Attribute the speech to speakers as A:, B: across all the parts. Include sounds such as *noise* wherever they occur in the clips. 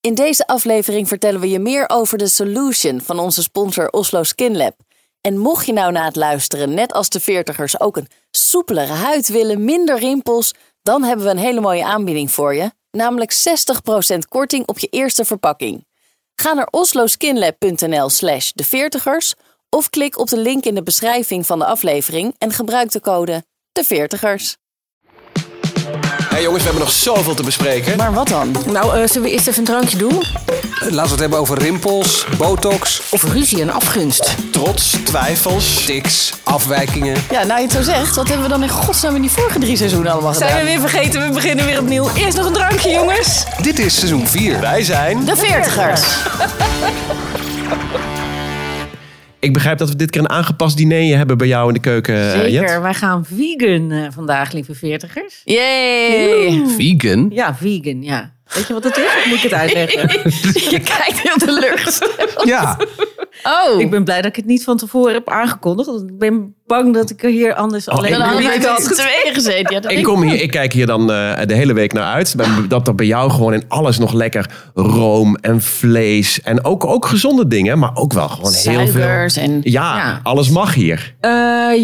A: In deze aflevering vertellen we je meer over de Solution van onze sponsor Oslo Skin Lab. En mocht je nou na het luisteren, net als de veertigers, ook een soepelere huid willen, minder rimpels, dan hebben we een hele mooie aanbieding voor je. Namelijk 60% korting op je eerste verpakking. Ga naar osloskinlab.nl slash de veertigers of klik op de link in de beschrijving van de aflevering en gebruik de code de veertigers.
B: Hey jongens, we hebben nog zoveel te bespreken.
A: Maar wat dan?
C: Nou, eh, zullen we eerst even een drankje doen?
B: Laten we het hebben over rimpels, botox,
C: Of ruzie en afgunst.
B: trots, twijfels, tics, afwijkingen.
A: Ja, nou je het zo zegt, wat hebben we dan in godsnaam in die vorige drie seizoenen allemaal gedaan?
C: Zijn we weer vergeten, we beginnen weer opnieuw. Eerst nog een drankje, jongens.
B: Dit is seizoen 4. Wij zijn...
A: De veertigers!
D: Ik begrijp dat we dit keer een aangepast diner hebben bij jou in de keuken, eh,
C: Zeker,
D: Jet.
C: wij gaan vegan eh, vandaag, lieve veertigers.
A: Yay!
B: Vegan?
C: Ja, vegan, ja. Weet je wat het is? Of moet ik het uitleggen?
A: Je kijkt heel teleurgesteld.
B: Ja.
A: Oh,
C: ik ben blij dat ik het niet van tevoren heb aangekondigd. Want ik ben bang dat ik er hier anders alleen
D: ik
A: dan
C: maar
A: hadden wij
C: niet
A: met
C: had.
A: z'n tweeën gezeten. Ja, dat
D: Ik
A: denk
D: kom
A: ook.
D: hier, ik kijk hier dan eh, de hele week naar uit. Bij- Dat er bij jou gewoon in alles nog lekker room en vlees. En ook, ook gezonde dingen, maar ook wel gewoon heel veel.
A: Suikers en...
D: Ja,
C: Ja.
D: alles mag hier.
C: Eh,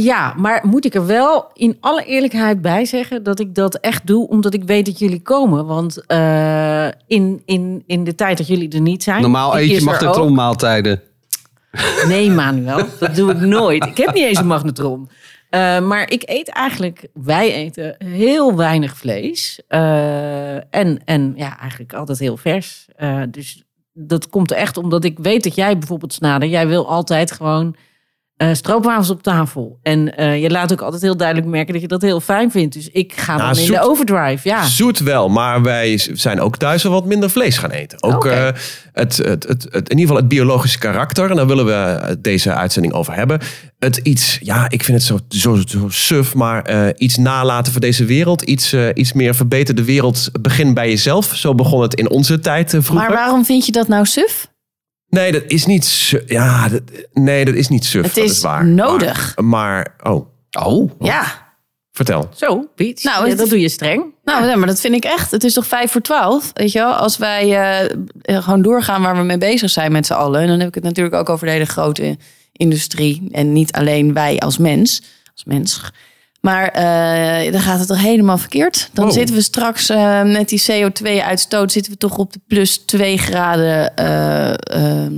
C: ja, maar moet ik er wel in alle eerlijkheid bij zeggen dat ik dat echt doe omdat ik weet dat jullie komen. Want eh, in, in, in de tijd dat jullie er niet zijn.
E: Normaal
C: ik
E: eet je
C: is er ook.
E: magnetronmaaltijden.
C: Nee, Manuel, dat doe ik nooit. Ik heb niet eens een magnetron. Eh, maar ik eet eigenlijk, wij eten heel weinig vlees. Eh, en, en ja, eigenlijk altijd heel vers. Eh, dus dat komt echt omdat ik weet dat jij bijvoorbeeld, Snader, jij wil altijd gewoon eh stroopwafels op tafel. En eh, je laat ook altijd heel duidelijk merken dat je dat heel fijn vindt. Dus ik ga
D: Nou,
C: dan in
D: zoet-
C: de overdrive,
A: Ah.
C: ja.
D: Zoet wel, maar wij z- zijn ook thuis wel wat minder vlees gaan eten. Ook
C: Oké.
D: eh, het, het, het, het- in ieder geval het biologische karakter. En daar willen we eh, deze uitzending over hebben. Het iets, ja, ik vind het zo, zo, zo suf, maar eh, iets nalaten voor deze wereld. Iets, eh, iets meer verbeter de wereld. Begin bij jezelf. Zo begon het in onze tijd eh, vroeger.
A: Maar waarom vind je dat nou suf?
D: Nee, dat is niet suf. Ja, dat, nee, dat is niet suf.
A: Het
D: dat
A: is
D: waar.
A: nodig.
D: Maar, maar- oh,
E: Oh.
A: Ja.
D: vertel.
C: Zo, Piet,
A: Nou,
C: ja,
A: het-
C: dat doe je streng.
A: Nou, nee, maar dat vind ik echt. Het is toch vijf voor twaalf, weet je wel? Als wij eh, eh, gewoon doorgaan waar we mee bezig zijn met z'n allen. En dan heb ik het natuurlijk ook over de hele grote industrie. En niet alleen wij als mens. Als mens. Maar eh, dan gaat het toch helemaal verkeerd. Dan
D: Wow.
A: zitten we straks eh, met die CO2-uitstoot... zitten we toch op de plus 2 graden... eh, ehm,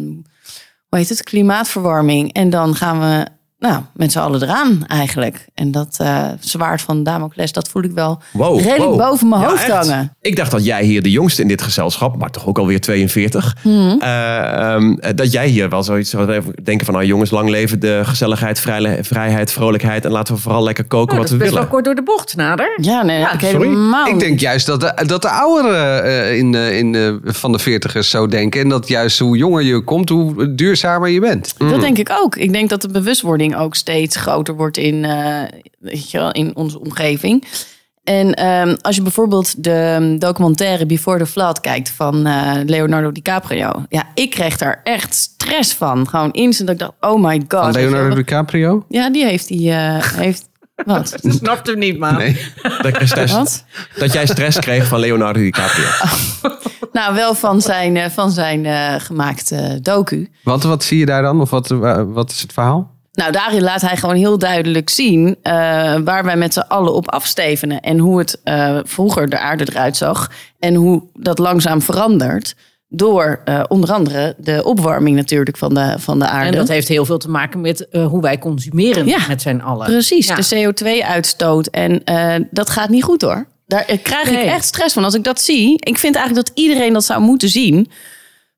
A: hoe heet het? Klimaatverwarming. En dan gaan we nou, met z'n allen eraan eigenlijk. En dat eh, zwaard van Damocles, dat voel ik wel...
D: Wow,
A: redelijk
D: wow.
A: boven mijn
D: Ja,
A: hoofd
D: echt.
A: hangen.
D: Ik dacht dat jij hier de jongste in dit gezelschap, maar toch ook alweer 42.
A: Hmm.
D: eh, ehm, eh, dat jij hier wel zoiets zou even denken van, nou jongens, lang leven de gezelligheid, vrijle- vrijheid, vrolijkheid. En laten we vooral lekker koken
A: Oh,
C: Nou,
D: wat
C: dat is
D: we
C: best wel
D: willen.
C: kort door de bocht, Snader.
A: Ja, nee, dat heb ik
D: sorry.
A: helemaal
E: Ik
A: niet.
E: denk juist dat de, dat de ouderen eh, in de, in de, van de veertigers zo denken. En dat juist hoe jonger je komt, hoe duurzamer je bent.
D: Mm.
A: Dat denk ik ook. Ik denk dat de bewustwording ook steeds groter wordt in, eh, weet je wel, in onze omgeving. En ehm, als je bijvoorbeeld de ehm, documentaire Before the Flood kijkt van eh, Leonardo DiCaprio. Ja, ik kreeg daar echt stress van. Gewoon instant dat ik dacht, oh my god.
E: Van Leonardo
A: Weet je
E: DiCaprio?
A: wel, Ja, die heeft die... eh, heeft, wat?
C: Dat snapt hem niet, man.
E: Nee.
D: Dat, jij stress,
A: Wat?
D: dat jij stress kreeg van Leonardo
A: *laughs*
D: DiCaprio.
A: Nou, wel van zijn, eh, van zijn eh, gemaakte docu.
E: Wat, wat zie je daar dan? Of wat, wa- wat is het verhaal?
A: Nou, daarin laat hij gewoon heel duidelijk zien eh, waar wij met z'n allen op afstevenen. En hoe het eh, vroeger de aarde eruit zag. En hoe dat langzaam verandert. Door eh, onder andere de opwarming natuurlijk van de, van de aarde.
C: En dat heeft heel veel te maken met eh, hoe wij consumeren
A: Ja,
C: met zijn allen.
A: Precies,
C: Ja.
A: de CO2-uitstoot. En eh, dat gaat niet goed hoor. Daar eh, krijg
C: Nee.
A: ik echt stress van. Als ik dat zie, ik vind eigenlijk dat iedereen dat zou moeten zien.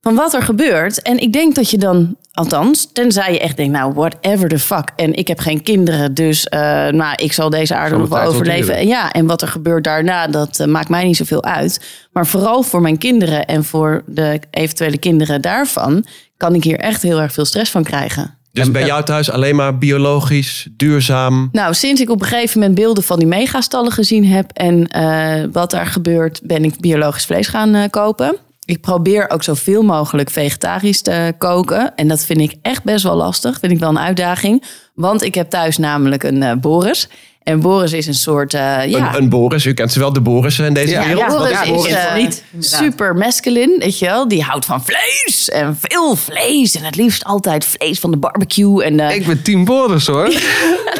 A: Van wat er gebeurt. En ik denk dat je dan, althans, tenzij je echt denkt, nou, whatever the fuck. En ik heb geen kinderen, dus eh, nou, ik zal deze aarde
E: Zal
A: nog
E: de
A: wel
E: tijd wel
A: overleven.
E: duren.
A: En ja, en wat er gebeurt daarna, dat eh, maakt mij niet zoveel uit. Maar vooral voor mijn kinderen en voor de eventuele kinderen daarvan, kan ik hier echt heel erg veel stress van krijgen.
D: Dus bij jou thuis alleen maar biologisch, duurzaam.
A: Nou, sinds ik op een gegeven moment beelden van die megastallen gezien heb en eh, wat daar gebeurt, ben ik biologisch vlees gaan eh, kopen. Ik probeer ook zoveel mogelijk vegetarisch te koken. En dat vind ik echt best wel lastig. Vind ik wel een uitdaging. Want ik heb thuis namelijk een eh Boris. En En Boris is een soort. eh, ja,
D: Een, een Boris, u kent ze wel, de Boris in deze
E: Ja.
D: wereld.
A: ja,
D: Dat
A: Boris
D: is
A: is
D: Boris.
A: eh,
C: Niet, inderdaad.
A: super masculine, weet je wel. Die houdt van vlees en veel vlees. En het liefst altijd vlees van de barbecue. En eh,
E: Ik ben Team Boris hoor.
A: *laughs*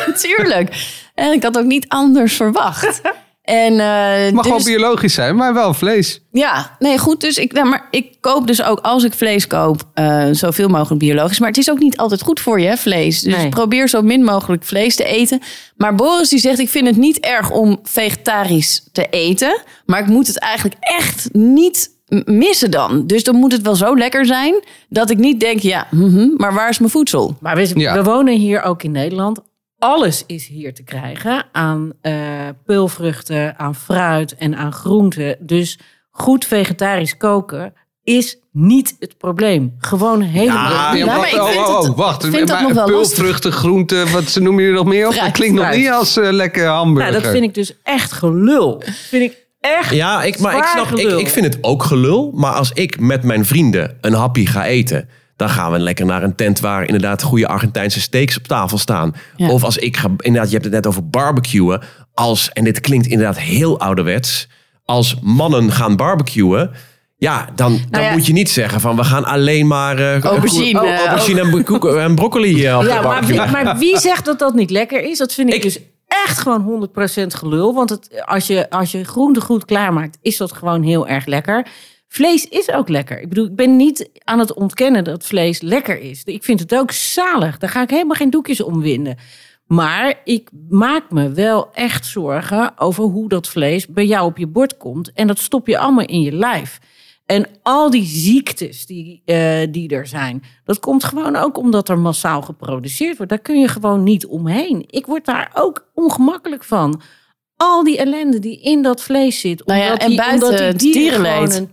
A: natuurlijk. En ik had ook niet anders verwacht. En, eh,
E: Mag wel
A: dus-
E: biologisch zijn, maar wel vlees.
A: Ja, nee, goed. Dus ik, nou, maar ik koop dus ook, als ik vlees koop, eh, zoveel mogelijk biologisch. Maar het is ook niet altijd goed voor je, hè, vlees. Dus
C: Nee.
A: probeer zo min mogelijk vlees te eten. Maar Boris die zegt, ik vind het niet erg om vegetarisch te eten. Maar ik moet het eigenlijk echt niet m- missen dan. Dus dan moet het wel zo lekker zijn, dat ik niet denk, ja, mhm, maar waar is mijn
D: *laughs*
A: voedsel?
C: Maar we,
E: Ja.
C: we wonen hier ook in Nederland. Alles is hier te krijgen aan eh peulvruchten, aan fruit en aan groenten. Dus goed vegetarisch koken is niet het probleem. Gewoon helemaal.
D: Ja,
E: Ja,
A: maar
E: wacht,
A: ik
E: oh,
A: vind
E: oh,
A: het-
E: oh, wacht.
A: ik vind dat
E: Maar
A: nog wel
E: Peulvruchten, groenten, wat ze noemen jullie nog meer op? Dat
A: Fruit,
E: klinkt nog
C: fruit.
E: niet als eh, lekker hamburger.
C: Nou, dat vind ik dus echt gelul. Dat vind ik echt.
D: Ja, ik, maar ik,
C: Zwaar
D: snap, ik,
C: gelul.
D: ik vind het ook gelul. Maar als ik met mijn vrienden een happy ga eten... dan gaan we lekker naar een tent waar inderdaad goede Argentijnse steaks op tafel staan.
A: Ja.
D: Of als ik ga... Inderdaad, je hebt het net over barbecuen. Als, en dit klinkt inderdaad heel ouderwets... als mannen gaan barbecuen... Ja, dan, dan
C: Nou
A: ja.
D: moet je niet zeggen van we gaan alleen maar... eh,
A: Aubergine,
D: koe-
A: eh,
D: aubergine en, broek- en broccoli eh, op
C: Oh, Ja,
D: de
C: maar,
D: barbecue.
C: wie, maar wie zegt dat dat niet lekker is? Dat vind ik,
D: Ik-
C: dus echt gewoon 100% gelul. Want het, als, je, als je groente goed klaarmaakt, is dat gewoon heel erg lekker. Vlees is ook lekker. Ik bedoel, ik ben niet aan het ontkennen dat vlees lekker is. Ik vind het ook zalig. Daar ga ik helemaal geen doekjes om winden. Maar ik maak me wel echt zorgen over hoe dat vlees bij jou op je bord komt. En dat stop je allemaal in je lijf. En al die ziektes die, eh, die er zijn, dat komt gewoon ook omdat er massaal geproduceerd wordt. Daar kun je gewoon niet omheen. Ik word daar ook ongemakkelijk van. Al die ellende die in dat vlees zit.
A: Nou ja, en buiten het dierenleed.
C: gewoon een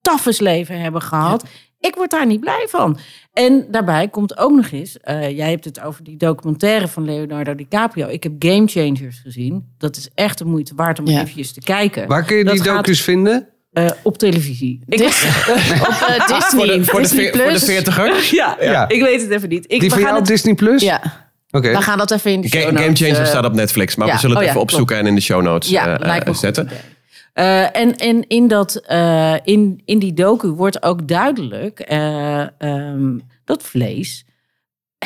C: tafesleven hebben gehad. Ik word daar niet blij van. En daarbij komt ook nog eens, eh, jij hebt het over die documentaire van Leonardo DiCaprio. Ik heb Game Changers gezien. Dat is echt de moeite waard om
A: Ja.
C: eventjes te kijken.
E: Waar kun je
C: Dat
E: die
C: gaat,
E: docus vinden?
C: eh, op televisie. Ik
A: Dis- op eh, Disney,
D: Voor de, voor de,
A: Disney
D: veer- voor de
A: Plus.
D: veertigers?
C: *laughs* Ja,
E: Ja.
C: ik weet het even niet. Ik,
E: Die
C: we
E: van jou
C: gaan
E: op
C: het,
E: Disney Plus?
A: Ja,
E: Oké.
C: we gaan dat even in de
D: Ga-
C: show
D: Game
C: notes,
D: Changer
C: eh,
D: staat op Netflix, maar
C: ja.
D: we zullen het
C: Oh ja,
D: even opzoeken en in de show notes
C: ja,
D: eh,
C: lijkt me
D: eh,
C: een goed
D: zetten.
C: idee. Eh, en en in, dat, eh, in, in die docu wordt ook duidelijk eh, ehm, dat vlees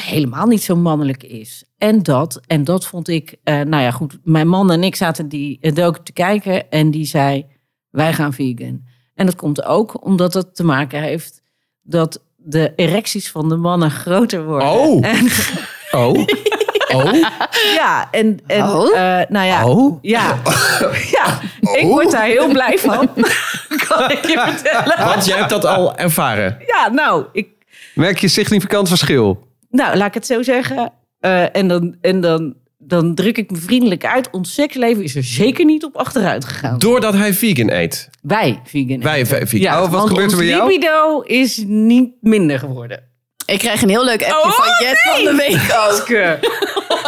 C: helemaal niet zo mannelijk is. En dat, en dat vond ik, eh, nou ja goed, mijn man en ik zaten die eh, docu te kijken en die zei, wij gaan vegan. En dat komt ook omdat dat te maken heeft dat de erecties van de mannen groter worden.
D: Oh. Oh.
A: *laughs*
D: Oh.
C: Ja, en, en
A: Oh?
C: eh, nou ja.
D: Oh.
C: Ja, ja. ik word daar heel blij van. kan ik je vertellen.
D: Want jij hebt dat al ervaren.
C: Ja, nou, ik,
E: Merk je significant verschil?
C: nou, laat ik het zo zeggen. Eh, en dan, en dan, dan druk ik me vriendelijk uit. Ons seksleven is er zeker niet op achteruit gegaan.
D: Doordat hij vegan eet.
C: Wij, vegan.
D: Wij ve- vegan.
E: Oh, wat
C: want
E: gebeurt er
C: ons
E: bij jou?
C: libido is niet minder geworden.
A: ik krijg een heel leuk appje
C: Oh,
A: van Jet van de week ook.
C: eh,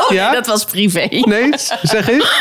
E: ja?
A: Dat was
E: *laughs*
A: privé.
E: Nee? Zeg eens.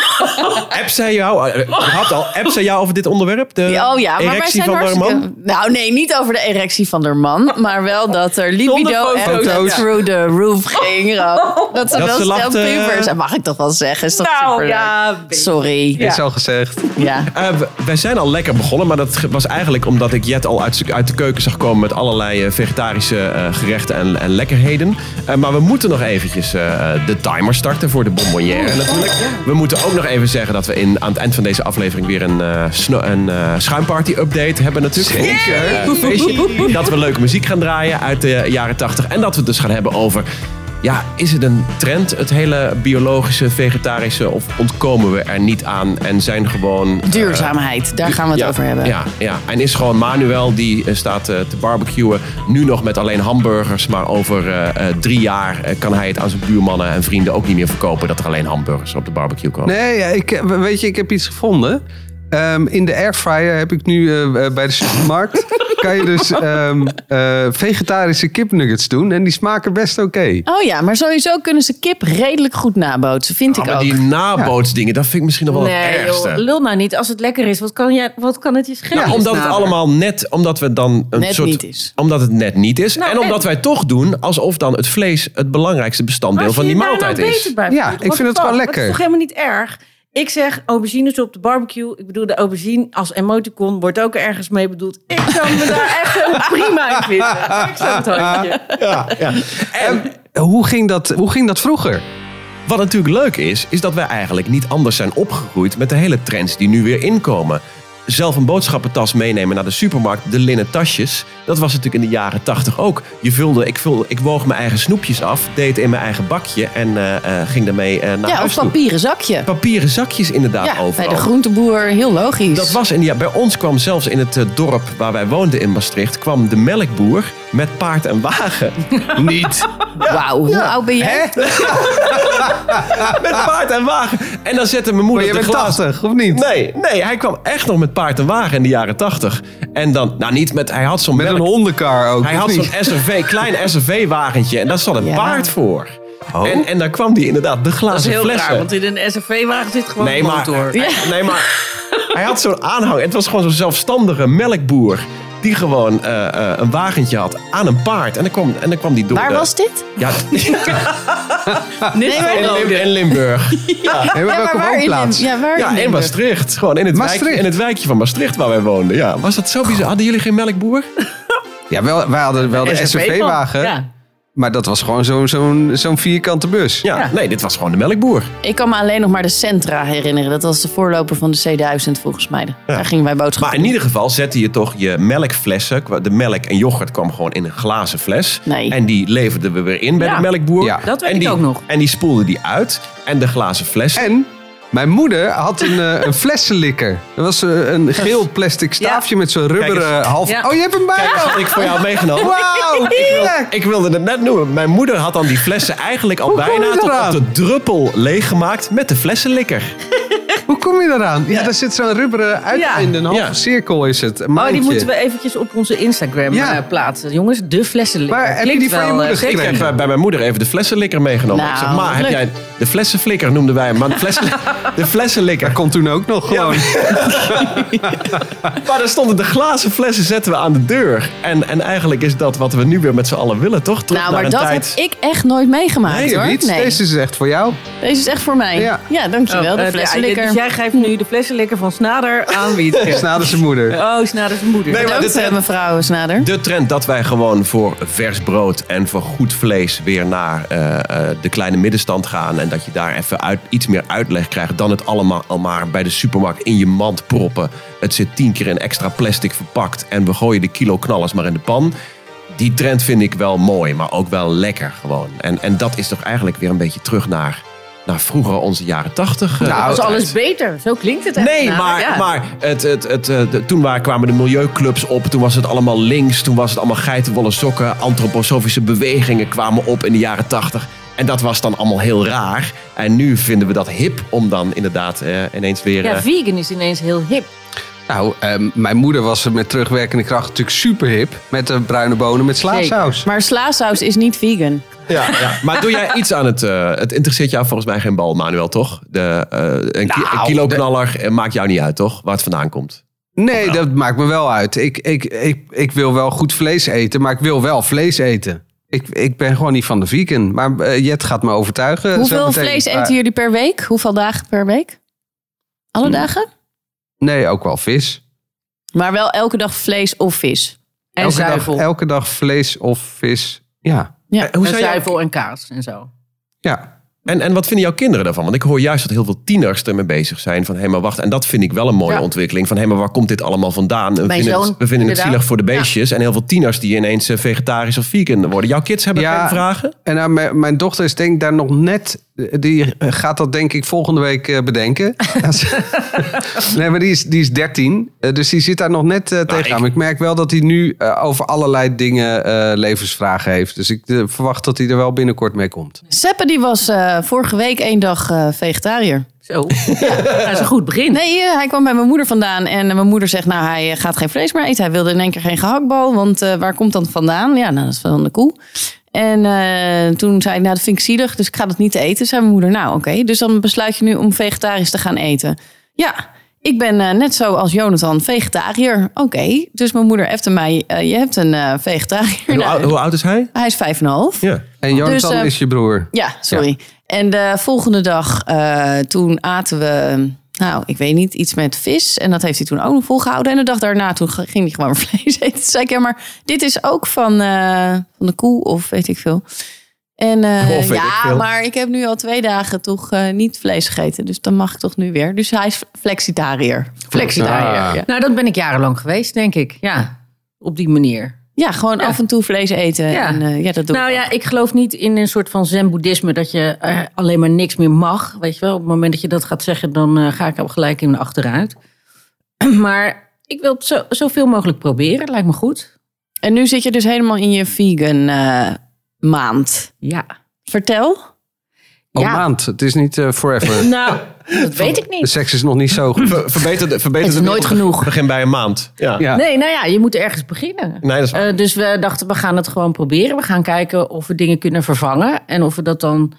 D: App zij jou, eh, had al, app zij jou over dit onderwerp? De
A: Oh ja, maar wij
D: erectie
A: zijn
D: van haar
A: hartstikke...
D: man?
A: Nou nee, niet over de erectie van haar man. Maar wel dat er libido
C: Zonder
A: echt
E: foto's.
A: through the roof ging. Ro. Dat ze
D: Dat
A: wel
D: ze
A: stel
D: lachte, eh,
A: pubers... Mag ik toch wel zeggen? Is dat
C: Nou
A: superleuk?
C: ja, een beetje.
A: Sorry.
E: Is al gezegd.
A: Ja.
D: Eh, we- wij zijn al lekker begonnen, maar dat ge- was eigenlijk omdat ik Jet al uit, uit de keuken zag komen met allerlei eh, vegetarische eh, gerechten en, en lekkerheden. Eh, maar we moeten nog eventjes eh, de timer starten voor de bonbonnière natuurlijk. We moeten ook nog even zeggen dat we in, aan het eind van deze aflevering weer een, eh, sno- een eh, schuimparty-update hebben natuurlijk.
E: Zeker.
D: Eh, feestje. Dat we leuke muziek gaan draaien uit de jaren 80 en dat we het dus gaan hebben over... Ja, is het een trend, het hele biologische, vegetarische, of ontkomen we er niet aan en zijn gewoon
A: Duurzaamheid, daar gaan we het
D: ja,
A: over hebben.
D: Ja, ja, en is gewoon Manuel die eh, staat eh, te barbecuen. Nu nog met alleen hamburgers. Maar over eh, eh, drie jaar eh, kan hij het aan zijn buurmannen en
E: eh,
D: vrienden ook niet meer verkopen. Dat er alleen hamburgers op de barbecue komen.
E: Nee, ja, ik, weet je, ik heb iets gevonden. Ehm, in de airfryer heb ik nu eh, eh, bij de supermarkt. kan je dus ehm, eh, vegetarische kipnuggets doen. En die smaken best oké.
B: Oh ja, maar sowieso kunnen ze kip redelijk goed nabootsen, vind
D: Ah,
B: ik
D: maar
B: ook.
D: die nabootsdingen, dat vind ik misschien nog wel het
C: nee,
D: ergste.
C: joh, lul nou niet. Als het lekker is, wat kan, jij, wat kan het je schelen?
D: Nou, omdat het allemaal net, omdat we dan een
B: Net
D: soort,
B: niet is.
D: omdat het net niet is,
C: Nou,
D: en omdat wij toch doen alsof dan het vlees het belangrijkste bestanddeel van die maaltijd
C: nou
D: is.
E: Ja, ik vind het wel
C: Dat is
E: lekker.
C: toch helemaal niet erg? Ik zeg aubergines op de barbecue. Ik bedoel, de aubergine als emoticon wordt ook ergens mee bedoeld. Ik zou me
E: *laughs*
C: daar echt helemaal prima in vinden. Ik zou het handje.
E: Eh, Hoe ging, dat, hoe ging dat vroeger?
D: Wat natuurlijk leuk is, is dat wij eigenlijk niet anders zijn opgegroeid met de hele trends die nu weer inkomen. Zelf een boodschappentas meenemen naar de supermarkt, de linnen tasjes. Dat was natuurlijk in de jaren tachtig ook. Je vulde, ik, vulde, ik woog mijn eigen snoepjes af, deed het in mijn eigen bakje en eh, eh, ging daarmee eh, naar
B: ja,
D: huis
B: of
D: toe.
B: papieren zakje.
D: Papieren zakjes inderdaad
B: Ja, bij
D: overal.
B: de groenteboer, heel logisch.
D: Dat was in, ja, bij ons kwam zelfs in het eh, dorp waar wij woonden in Maastricht... kwam de melkboer met paard en wagen.
E: *laughs* Niet.
B: Wauw, hoe oud ben jij?
D: *laughs* met paard en wagen. En dan zette mijn
E: Maar
D: moeder
E: je
D: de
E: bent
D: glas...
E: 80, of niet?
D: Nee, nee, hij kwam echt nog met paard en wagen in de jaren 80. En dan, nou niet met, hij had zo'n
E: Met een
D: melk-
E: hondenkar ook.
D: Hij
E: of
D: had
E: niet?
D: zo'n
C: *laughs*
D: SRV, klein SRV-wagentje en daar zat een
B: Ja. Oh.
D: paard voor. En, en daar kwam die inderdaad de glazen
C: Dat is heel
D: flessen.
C: raar, want in een SFV-wagen zit gewoon
D: Nee
C: een
D: maar,
C: motor.
D: hij- nee, maar hij had zo'n aanhang. Het was gewoon zo'n zelfstandige melkboer. Die gewoon eh, eh, een wagentje had aan een paard. En dan kwam, en dan kwam die door.
B: Waar
D: de-
B: was dit? *laughs*
D: Ja,
C: Nee,
D: in, Lim- in Limburg.
E: Nee, maar welke
B: waar in
E: woonplaats?
B: Lim- Ja, waar
D: Ja,
B: in
D: in
B: Limburg?
D: Maastricht. Gewoon in het,
E: Maastricht.
D: Wijk, in het wijkje van Maastricht waar wij woonden. Ja, was dat zo bizar? Hadden jullie geen melkboer?
E: Ja, wel, wij hadden wel de SUV-wagen.
C: Ja.
E: Maar dat was gewoon zo'n zo'n zo'n vierkante bus.
D: Ja, nee, dit was gewoon de melkboer.
B: Ik kan me alleen nog maar de Centra herinneren. Dat was de voorloper van de C1000 volgens mij. Daar gingen wij
D: Maar
B: boodschappen
D: in ieder geval zette je toch je melkflessen. kwa- De melk en yoghurt kwam gewoon in een glazen fles.
B: Nee.
D: En die leverden we weer in bij
C: Ja,
D: de melkboer.
E: ja.
C: Dat weet
D: en
C: ik
D: die,
C: ook nog.
D: En die spoelde die uit. En de glazen fles.
E: En mijn moeder had een, eh, een flessenlikker. Dat was eh, een geel plastic staafje met zo'n rubberen
D: Kijk
E: half...
C: Ja.
E: Oh, je hebt hem bij
D: Kijk eens
E: je.
D: wat ik voor jou had meegenomen.
E: Wauw! Lekker.
D: Ik wilde het net noemen. Mijn moeder had dan die flessen eigenlijk al
E: Hoe kom je
D: bijna tot
E: eraan?
D: op de druppel leeggemaakt met de flessenlikker.
E: Hoe kom je daaraan? Ja, daar zit zo'n rubberen uiteinde. Een halve
D: Ja.
E: cirkel is het.
C: Oh,
E: Een
C: die
E: maandje.
C: moeten we eventjes op onze Instagram
E: Ja.
C: eh, plaatsen. Jongens, de flessenlikker.
E: Maar heb je
C: Klinkt
E: die van je
C: wel,
E: moeder
C: eh,
D: Ik
E: gekregen?
D: heb eh, bij mijn moeder even de flessenlikker meegenomen.
B: Nou,
D: ik zeg, ma, heb
B: leuk.
D: jij de flessenflikker noemden wij hem. Maar de,
C: *laughs*
D: flessen, de flessenlikker.
E: Dat kon toen ook nog gewoon.
D: Maar daar stonden de glazen flessen zetten we aan de deur. En, en eigenlijk is dat wat we nu weer met z'n allen willen, toch? Terug
B: Nou,
D: naar
B: maar
D: een
B: dat
D: tijd.
B: heb ik echt nooit meegemaakt
E: Nee,
B: hoor.
E: niet.
B: Nee,
E: Deze is echt voor jou.
B: Deze is echt voor mij. Ja,
E: Ja.
B: dankjewel.
C: Oh,
B: de
C: eh,
B: flessenlikker.
C: ja, Dus jij geeft nu de flessenlikker van Snader aan
E: Dus *laughs*
C: Wietke.
E: nader zijn moeder.
C: Oh, Snader zijn moeder.
D: Nee, maar
B: Bedankt
D: dit-
B: eh, mevrouw Snader.
D: De trend dat wij gewoon voor vers brood en voor goed vlees weer naar eh, eh, de kleine middenstand gaan. En dat je daar even uit, iets meer uitleg krijgt dan het allemaal al maar bij de supermarkt in je mand proppen. Het zit tien keer in extra plastic verpakt en we gooien de kilo knallers maar in de pan. Die trend vind ik wel mooi, maar ook wel lekker gewoon. En, en dat is toch eigenlijk weer een beetje terug naar, naar vroeger onze jaren tachtig. eh,
E: Nou,
C: Dat is alles beter. Zo klinkt het echt.
D: Nee,
C: Nou,
D: maar,
C: ja.
D: maar het, het, het, eh, de- toen waren, kwamen de milieuclubs op. Toen was het allemaal links. Toen was het allemaal geitenwolle sokken. Antroposofische bewegingen kwamen op in de jaren tachtig. En dat was dan allemaal heel raar. En nu vinden we dat hip om dan inderdaad eh, ineens weer...
C: Ja,
D: eh,
C: vegan is ineens heel hip.
E: Nou, ehm, mijn moeder was er met terugwerkende kracht natuurlijk super hip. Met de bruine bonen met slaasaus.
B: Maar slaasaus is niet vegan.
D: ja, ja. Maar doe jij iets aan het... eh, het interesseert jou volgens mij geen bal, Manuel, toch? De, eh, een, ki- een kiloknaller eh, maakt jou niet uit, toch? Waar het vandaan komt.
E: Nee, dat maakt me wel uit. Ik, ik, ik, ik wil wel goed vlees eten, maar ik wil wel vlees eten. Ik, ik ben gewoon niet van de vegan. Maar eh, Jet gaat me overtuigen. Ah,
B: Hoeveel vlees eten
E: je?
B: jullie per week? Hoeveel dagen per week?
D: Hm.
B: Alle dagen?
E: Nee, ook wel vis.
B: Maar wel elke dag vlees of vis.
C: En
E: elke, dag,
C: zuivel.
E: elke dag vlees of vis. Ja.
B: Ja.
D: Eh, Hoe
C: en
D: zijn jouw-
C: zuivel en kaas en zo.
E: ja.
D: En, en wat vinden jouw kinderen daarvan? Want ik hoor juist dat heel veel tieners ermee bezig zijn. Van hé, maar wacht. En dat vind ik wel een mooie
C: Ja.
D: ontwikkeling. Van hé, maar waar komt dit allemaal vandaan? En We
C: Mijn
D: vinden,
C: zoon,
D: het, we vinden het
C: inderdaad.
D: zielig voor de beestjes. En heel veel tieners die ineens eh, vegetarisch of vegan worden. Jouw kids hebben
E: Ja.
D: geen vragen?
E: En nou, mijn, mijn dochter is denk ik daar nog net... Die gaat dat denk ik volgende week eh, bedenken.
D: *laughs*
E: *laughs* nee, maar die is, die is 13. eh, Dus die zit daar nog net eh, tegenaan.
D: Nou, ik-
E: Maar Ik... merk wel dat hij nu eh, over allerlei dingen eh, levensvragen heeft. Dus ik eh, verwacht dat hij er wel binnenkort mee komt.
B: Seppe die was eh, vorige week één dag eh, vegetariër.
E: *laughs*
C: Zo. Ja, dat is een goed begin.
A: Nee, eh, hij kwam bij mijn moeder vandaan en eh, mijn moeder zegt, nou hij eh, gaat geen vlees meer eten. Hij wilde in één keer geen gehaktbal, want eh, waar komt dat vandaan? Ja, nou, dat is van de koe. En eh, toen zei ik, nou dat vind ik zielig, dus ik ga dat niet eten. Zei mijn moeder, nou oké, dus dan besluit je nu om vegetarisch te gaan eten. Ja, ik ben eh, net zo als Jonathan vegetariër. Oké, dus mijn moeder heeft mij, eh, je hebt een eh,
D: En
A: vegetariër.
D: hoe,
A: Nou,
D: oud, hoe oud is hij?
A: hij is vijf en een half.
D: Ja.
E: En
C: Dus,
E: Jonathan
A: eh,
E: is je broer.
A: Ja, sorry. En de volgende dag, eh, toen aten we, nou, ik weet niet, iets met vis. En dat heeft hij toen ook nog volgehouden. En de dag daarna, toen ging hij gewoon *laughs* vlees eten. Toen zei ik, ja, maar dit is ook van, eh, van de koe of weet ik veel. En eh,
D: Of weet
A: ja,
D: ik veel.
A: maar ik heb nu al twee dagen toch eh, niet vlees gegeten. Dus dan mag ik toch nu weer. Dus hij is flexitariër. Flexitariër,
E: Ah.
A: ja.
C: Nou, dat ben ik jarenlang geweest, denk ik. Ja, op die manier.
A: Ja, gewoon
C: Ja.
A: af en toe vlees eten.
C: Ja.
A: En, eh, ja dat doe ik
C: Nou ja, ik geloof niet in een soort van zen-boeddhisme dat je eh, alleen maar niks meer mag. Weet je wel, op het moment dat je dat gaat zeggen, dan eh, ga ik er gelijk in achteruit. *clears throat* Maar ik wil het zo, zoveel mogelijk proberen, lijkt me goed.
A: En nu zit je dus helemaal in je vegan eh, maand.
C: Ja.
A: Vertel.
E: Al
C: ja.
E: oh, maand. Het is niet eh,
C: *laughs*
E: forever.
C: Nou, dat weet ik
E: De
C: niet.
E: seks is nog niet zo goed.
D: Ver- Verbeter, de- verbeter
C: Het is
D: de-
C: nooit genoeg.
D: Begin bij een maand. Ja.
E: Ja.
C: Nee, nou ja, je moet ergens beginnen.
D: Nee, dat is
C: Eh, dus we dachten, we gaan het gewoon proberen. We gaan kijken of we dingen kunnen vervangen. En of we dat dan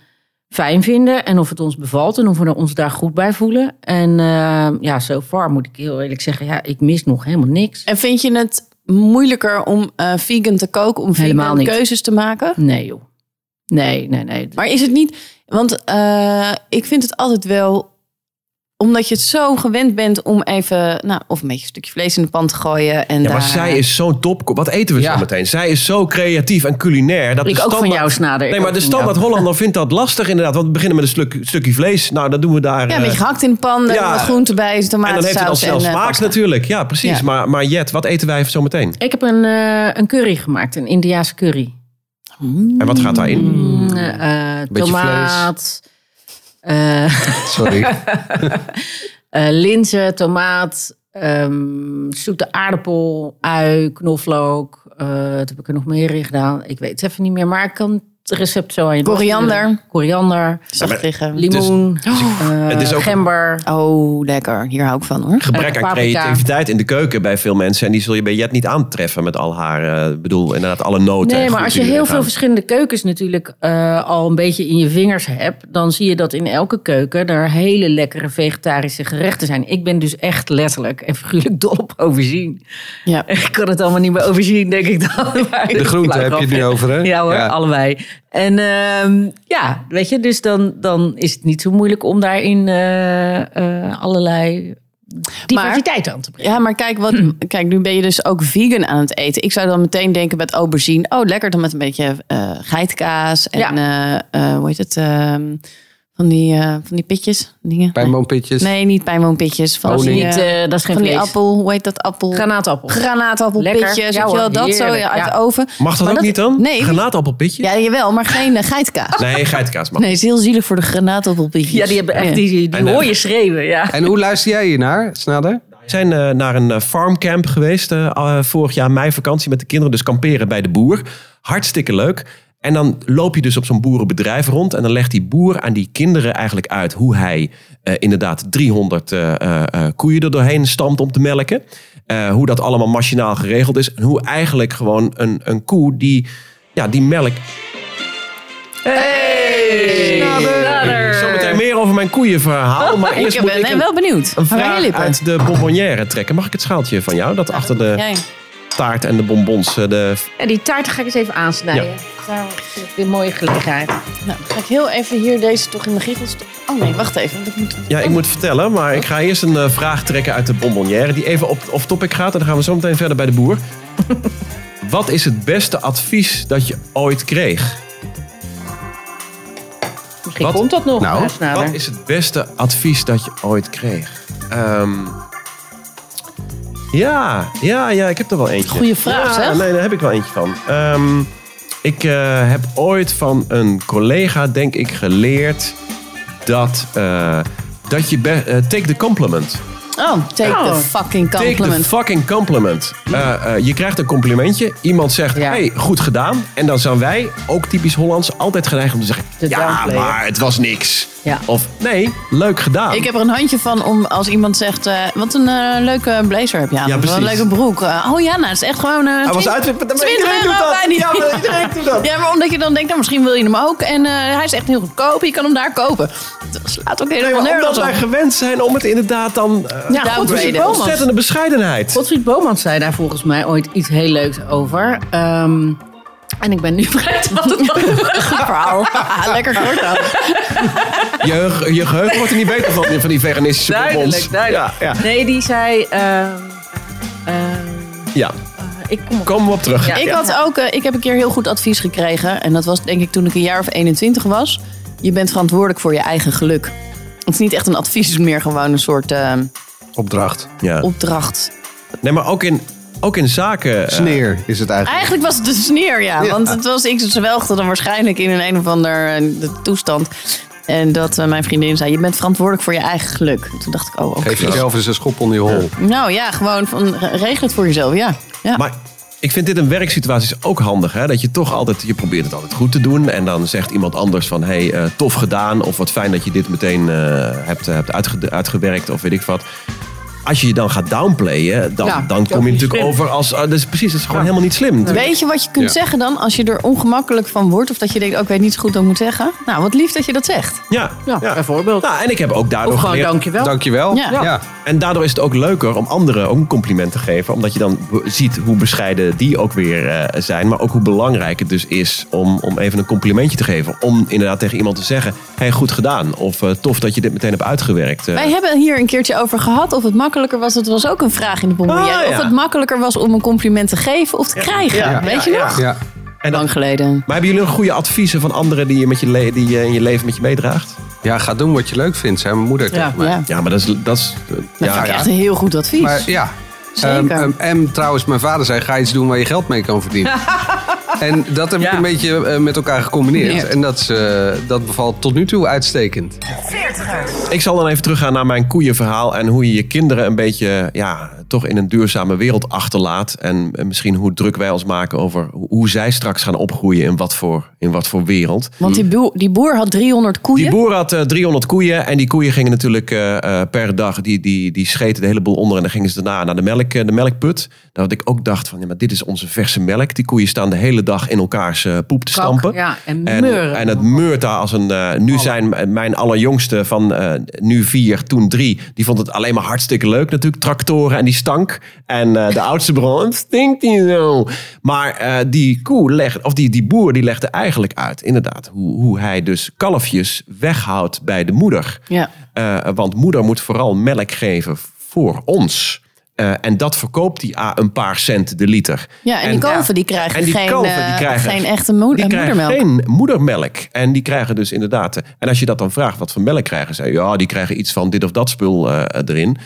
C: fijn vinden. En of het ons bevalt. En of we ons daar goed bij voelen. En eh, ja, so far moet ik heel eerlijk zeggen. Ja, ik mis nog helemaal niks.
A: En vind je het moeilijker om eh, vegan te koken, om
C: Helemaal
A: vegan
C: niet.
A: keuzes te maken?
C: Nee joh. Nee, nee, nee.
A: Maar is het niet, want eh, ik vind het altijd wel, omdat je het zo gewend bent om even, nou, of een beetje een stukje vlees in de pan te gooien. En
D: Ja, maar
A: daar- eh,
D: zij is zo'n top. Wat eten we
E: Ja.
D: zo meteen? Zij is zo creatief en culinair. Dat
C: ik
D: de
C: ook van
D: standaard-
C: jou, Snader. Ik
D: Nee, maar
C: ook
D: de
C: van jou.
D: standaard Hollander vindt dat lastig inderdaad. Want we beginnen met een sluk- stukje vlees. Nou, dat doen we daar.
A: Ja,
D: eh,
A: een beetje gehakt in de pan, daar
D: Ja.
A: wat groenten bij,
D: en dan
A: tomatensaus.
D: heeft het al snel
A: eh,
D: smaak
A: pasta.
D: natuurlijk. Ja, precies.
A: Ja.
D: Maar, maar Jet, wat eten wij zo meteen?
C: Ik heb een, eh, een curry gemaakt. Een Indiaanse curry.
D: En wat gaat
C: Mm.
D: daarin?
C: Eh, eh,
E: Beetje
C: tomaat. eh,
E: Sorry.
C: eh linzen, tomaat, ehm, zoete aardappel, ui, knoflook. eh wat heb ik er nog meer in gedaan? Ik weet het even niet meer, maar ik kan het recept zo aan je
A: Koriander.
C: doorsturen. Koriander,
A: Zacht liggen.
C: limoen,
D: het is
C: eh,
D: ook-
C: gember.
A: Oh, lekker. Hier hou ik van hoor.
D: Gebrek aan
C: paprika.
D: creativiteit in de keuken bij veel mensen. En die zul je bij Jet niet aantreffen met al haar, eh, ik bedoel, inderdaad alle noten.
C: Nee,
D: en
C: maar als je
D: groenten
C: heel
D: die
C: veel
D: erin
C: verschillende keukens natuurlijk eh, al een beetje in je vingers hebt, dan zie je dat in elke keuken er hele lekkere vegetarische gerechten zijn. Ik ben dus echt letterlijk en figuurlijk dol op overzien. *laughs*
A: Ja.
C: Ik kan het allemaal niet meer overzien, denk ik dan.
E: De groente heb je het nu over, hè?
C: Ja hoor, allebei. En ehm, ja, weet je, dus dan, dan is het niet zo moeilijk om daarin eh, eh, allerlei diversiteit aan te brengen.
A: Ja, maar kijk, wat,
C: Hmm.
A: kijk, nu ben je dus ook vegan aan het eten. Ik zou dan meteen denken met aubergine. Oh, lekker dan met een beetje eh, geitkaas. En eh, eh, hoe heet het? ehm, van, die, eh, van die pitjes. Dingen.
E: Pijnboompitjes.
A: Nee, niet pijnboompitjes. Van,
E: Oh,
A: die,
E: nee.
A: eh,
C: Niet, eh, dat is geen
A: van die
C: vlees.
A: appel. Hoe heet dat appel?
C: Granaatappel.
A: Granaatappelpitjes.
C: Lekker.
A: weet
C: Ja
A: je
C: hoor,
A: wel, dat zo
C: heerlijk,
A: ja, uit
C: ja.
A: de oven.
D: gaat. Mag dat
A: Maar
D: ook niet dan?
A: Nee.
D: Granaatappelpitje?
A: Ja, jawel, maar geen eh,
D: *laughs*
A: geitkaas.
D: Nee, geitenkaas mag.
A: Nee, het is heel zielig voor de granaatappelpitjes.
C: Ja, die, hebben echt,
A: Ja.
C: die, die
D: En, eh,
C: hoor je schreeuwen, ja.
E: En hoe luister jij hiernaar, Snader?
D: We zijn eh, naar een eh, farmcamp geweest eh, eh, vorig jaar mei vakantie met de kinderen. Dus kamperen bij de boer. Hartstikke leuk. En dan loop je dus op zo'n boerenbedrijf rond. En dan legt die boer aan die kinderen eigenlijk uit hoe hij eh, inderdaad 300 eh, eh, eh, koeien er doorheen stampt om te melken. Eh, hoe dat allemaal machinaal geregeld is. En hoe eigenlijk gewoon een, een koe die, ja, die melk. Hey!
C: Snader!
D: Zometeen meer over mijn koeienverhaal. Maar eerst
A: Ik
D: moet Oh, ik
A: ben
D: een-
A: wel benieuwd.
D: een
A: Hou je
D: vraag
A: lippen.
D: uit de bonbonnière trekken. Mag ik het schaaltje van jou? Dat achter de
A: Jij.
D: taart en de bonbons. eh, De...
C: En die taart ga ik eens even aansnijden.
D: Ja.
C: Daar is weer een mooie gelegenheid.
A: Nou, dan ga ik heel even hier deze toch in mijn giegels... Oh nee, wacht even. want ik moet...
D: Ja, ik moet vertellen, maar ik ga eerst een eh, vraag trekken uit de bonbonnière. Die even op off-topic gaat. En dan gaan we zo meteen verder bij de boer. Wat is het beste advies dat je ooit kreeg?
C: Misschien
D: Wat?
C: komt dat nog,
E: Nou,
C: eh, Snader.
D: Wat is het beste advies dat je ooit kreeg? Ehm, ja, ja, ja, ik heb er wel eentje.
A: Goeie vraag,
D: ja,
A: zeg.
D: Nee, daar heb ik wel eentje van. Ehm, ik eh, heb ooit van een collega, denk ik, geleerd dat, eh, dat je... be- eh, take the compliment.
A: Oh, take
C: Oh.
A: the fucking
D: Take
A: compliment.
D: the fucking compliment. Eh, eh, je krijgt een complimentje. Iemand zegt,
C: Ja.
D: hey, goed gedaan. En dan zijn wij, ook typisch Hollands, altijd geneigd om te zeggen...
C: te
D: Ja,
C: downplayen.
D: maar het was niks.
C: Ja.
D: Of nee, leuk gedaan.
A: Ik heb er een handje van om als iemand zegt... eh, wat een eh, leuke blazer heb je aan.
D: Ja,
A: Of wat een
D: precies.
A: leuke broek. Eh, oh ja, nou, het is echt gewoon... eh
D: Hij was
A: 20
D: uit. maar
A: 20
D: Iedereen doet
A: euro
D: dat.
A: bijna.
D: Ja, maar iedereen doet dat.
A: Ja, maar omdat je dan denkt, nou, misschien wil je hem ook. En eh, hij is echt heel goedkoop. Je kan hem daar kopen. Dat slaat ook
D: Nee,
A: helemaal
D: maar omdat
A: nergens
D: wij
A: op.
D: gewend zijn om het inderdaad dan... eh,
C: Ja,
A: Downgraden.
C: Godfried
D: een
C: Bomans.
D: ontzettende bescheidenheid.
C: Godfried Bomans zei daar volgens mij ooit iets heel leuks over. Ehm, en ik ben nu *laughs* vergeten
A: *laughs*
C: wat het was.
A: Goed
C: *laughs*
A: verhaal. Haha, Lekker kort dan.
D: Je, je geheugen wordt er niet beter van, van die veganistische bonbons.
C: Duidelijk, duidelijk.
D: Ja, ja,
C: Nee, die zei... ehm, ehm,
D: ja.
C: ik kom op.
D: Komen we op terug.
C: Ja.
A: Ik, had ook, eh, ik heb een keer heel goed advies gekregen. En dat was denk ik toen ik een jaar of 21 was. Je bent verantwoordelijk voor je eigen geluk. Het is niet echt een advies, het is meer gewoon een soort eh,
E: Opdracht.
D: Ja.
A: opdracht.
D: Nee, maar ook in, ook in zaken... eh,
E: Sneer is het eigenlijk.
A: Eigenlijk was het een sneer, ja.
E: Ja.
A: Want het was, ik zwelgde dan waarschijnlijk in een een of ander eh, de toestand. En dat eh, mijn vriendin zei, je bent verantwoordelijk voor je eigen geluk. En Toen dacht ik, oh, oké.
E: Geef jezelf eens een schop onder je hol.
A: Nou ja, gewoon van, re- regel het voor jezelf, ja. ja.
D: Maar ik vind dit in werksituaties ook handig. Hè? Dat je toch altijd, je probeert het altijd goed te doen. En dan zegt iemand anders van, hé, hey, eh, tof gedaan. Of wat fijn dat je dit meteen eh, hebt, eh, hebt uitge- uitgewerkt. Of weet ik wat. Als je je dan gaat downplayen, dan,
C: Ja,
D: dan
C: dat
D: kom je
C: is
D: natuurlijk
C: slim.
D: over als... ah, dat is precies, dat is gewoon helemaal niet slim.
A: Weet je wat je kunt
E: Ja.
A: zeggen dan als je er ongemakkelijk van wordt? Of dat je denkt, oh, ik weet niet zo goed wat ik moet zeggen. Nou, wat lief dat je dat zegt.
D: Ja,
C: Ja, bijvoorbeeld.
D: Nou, en ik heb ook daardoor
C: Of gewoon
D: geleerd-
C: dankjewel.
E: Dankjewel.
A: Ja.
E: ja.
D: En daardoor is het ook leuker om anderen ook een compliment te geven. Omdat je dan be- ziet hoe bescheiden die ook weer eh, zijn. Maar ook hoe belangrijk het dus is om, om even een complimentje te geven. Om inderdaad tegen iemand te zeggen, hey, goed gedaan. Of eh, tof dat je dit meteen hebt uitgewerkt. Eh,
A: Wij hebben hier een keertje over gehad of het makkelijker was. Dat was ook een vraag in de bonbonnière.
D: Ah, ja.
A: Of het makkelijker was om een compliment te geven of te krijgen.
D: ja, ja,
A: weet je
D: ja.
A: nog?
E: Ja.
D: en dan-
A: Lang geleden.
D: maar hebben jullie nog goede adviezen van anderen die je, met je, le- die je in je leven met je meedraagt?
E: Ja, ga doen wat je leuk vindt, zei mijn moeder
C: Ja.
E: tegen mij.
A: Ja.
D: Ja, maar dat is... Dat is eh,
A: Dat
D: ja,
A: vind ik
D: ja.
A: echt een heel goed advies.
E: Maar ja.
A: Zeker.
E: Ehm, ehm, en trouwens, mijn vader zei: ga iets doen waar je geld mee kan verdienen. en dat heb ik
C: Ja.
E: een beetje eh, met elkaar gecombineerd.
A: Combineerd.
E: En dat, is, eh, dat bevalt tot nu toe uitstekend.
D: Ik zal dan even teruggaan naar mijn koeienverhaal en hoe je je kinderen een beetje ja, toch in een duurzame wereld achterlaat. En en misschien hoe druk wij ons maken over ho- hoe zij straks gaan opgroeien in wat voor, in wat voor wereld.
A: Want die boer, die boer had 300 koeien.
D: Die boer had eh, 300 koeien en die koeien gingen natuurlijk eh, eh, per dag, die, die, die scheten de hele boel onder en dan gingen ze daarna naar de, melk, eh, de melkput. Dat ik ook dacht van, ja, maar dit is onze verse melk. Die koeien staan de hele dag in elkaars eh, poep te stampen.
C: Ja, en
D: En,
C: meuren.
D: en het meurt daar als een. eh, nu zijn m- mijn allerjongste van eh, nu vier, toen drie. Die vond het alleen maar hartstikke leuk natuurlijk. Tractoren en die stank. En eh, de oudste *laughs* bron, het stinkt niet zo. Maar eh, die koe legt, of die, die boer, die legde eigenlijk uit, inderdaad, hoe, hoe hij dus kalfjes weghoudt bij de moeder.
A: Ja.
D: Eh, want moeder moet vooral melk geven voor ons. Eh, en dat verkoopt hij aan een paar cent de liter.
A: Ja, en, die kalven die krijgen,
D: en die
A: geen,
D: kalven, die
A: eh,
D: krijgen-
A: geen echte moe-
D: die
A: eh,
D: krijgen
A: moedermelk.
D: geen moedermelk. En die krijgen dus inderdaad... eh, En als je dat dan vraagt, wat voor melk krijgen ze? Ja, die krijgen iets van dit of dat spul eh, erin.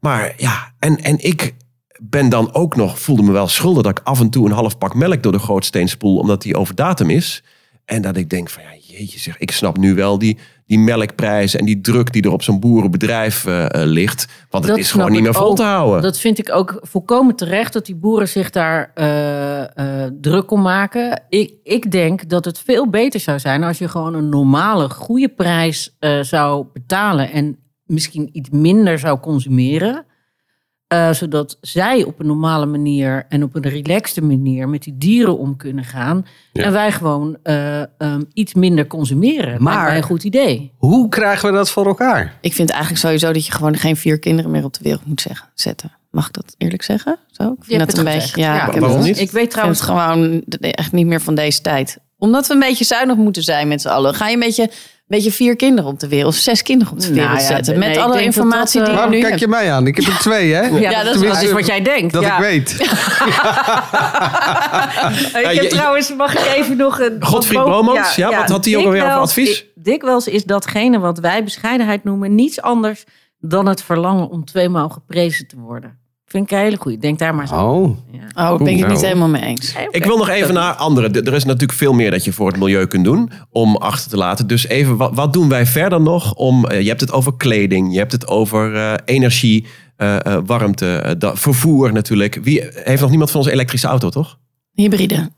D: Maar ja, en, en ik ben dan ook nog... Voelde me wel schuldig dat ik af en toe een half pak melk door de grootsteen spoel... omdat die over datum is. En dat ik denk van, ja, jeetje zeg, ik snap nu wel die, die melkprijzen... en die druk die er op zo'n boerenbedrijf eh, eh, ligt. Want het
C: Dat
D: is
C: snap
D: gewoon niet
C: ik
D: meer vol
C: ook.
D: te houden.
C: Dat vind ik ook volkomen terecht dat die boeren zich daar eh, eh, druk om maken. Ik, ik denk dat het veel beter zou zijn als je gewoon een normale, goede prijs eh, zou betalen. En misschien iets minder zou consumeren. Eh, zodat zij op een normale manier en op een relaxte manier met die dieren om kunnen gaan. En wij gewoon eh, ehm, iets minder consumeren. Lijkt
E: Maar-
C: mij een goed idee.
E: Hoe krijgen we dat voor elkaar?
A: Ik vind eigenlijk sowieso dat je gewoon geen vier kinderen meer op de wereld moet zeggen, zetten. Mag ik dat eerlijk zeggen? Zo? Ik vind
C: Je hebt
A: dat
C: het
A: een
C: gezegd.
A: beetje. Ja,
C: Ja.
A: ik heb
D: Waarom
A: het-
D: niet?
C: Ik weet
A: Ik vind
C: trouwens
A: het gewoon echt niet meer van deze tijd. Omdat we een beetje zuinig moeten zijn met z'n allen. Ga je een beetje, een beetje vier kinderen op de wereld, of zes kinderen op de
C: Nou
A: wereld
C: ja,
A: zetten.
C: nee,
A: Met
C: ik
A: alle
C: denk dat
A: informatie
C: dat, eh,
A: die
E: Waarom
A: we nu
E: kijk je
A: hebben.
E: mij aan? Ik heb er twee, hè?
C: Ja, dat, is, dat
E: Tenminste,
C: is wat jij denkt.
E: Dat
C: ja.
E: ik weet.
C: Eh, Ik
D: Ja,
C: heb
D: Eh, je-
C: trouwens, mag ik even nog een...
D: Godfried
C: wat-
D: Bomans, ja, wat had hij ook alweer voor
C: Dikwijls-
D: advies?
C: i- Dikwijls is datgene wat wij bescheidenheid noemen niets anders dan het verlangen om tweemaal geprezen te worden. Vind ik een hele goeie. Denk daar maar eens aan.
E: Oh,
A: Oh, daar ben ik het niet
E: Nou.
A: helemaal mee eens.
C: Hey, oké.
D: Ik wil nog even naar andere. D- Er is natuurlijk veel meer dat je voor het milieu kunt doen om achter te laten. Dus even, wat, wat doen wij verder nog om. eh, je hebt het over kleding, je hebt het over eh, energie, eh, eh, warmte, eh, da- vervoer natuurlijk. Wie heeft nog niemand van ons elektrische auto, toch?
A: Hybride.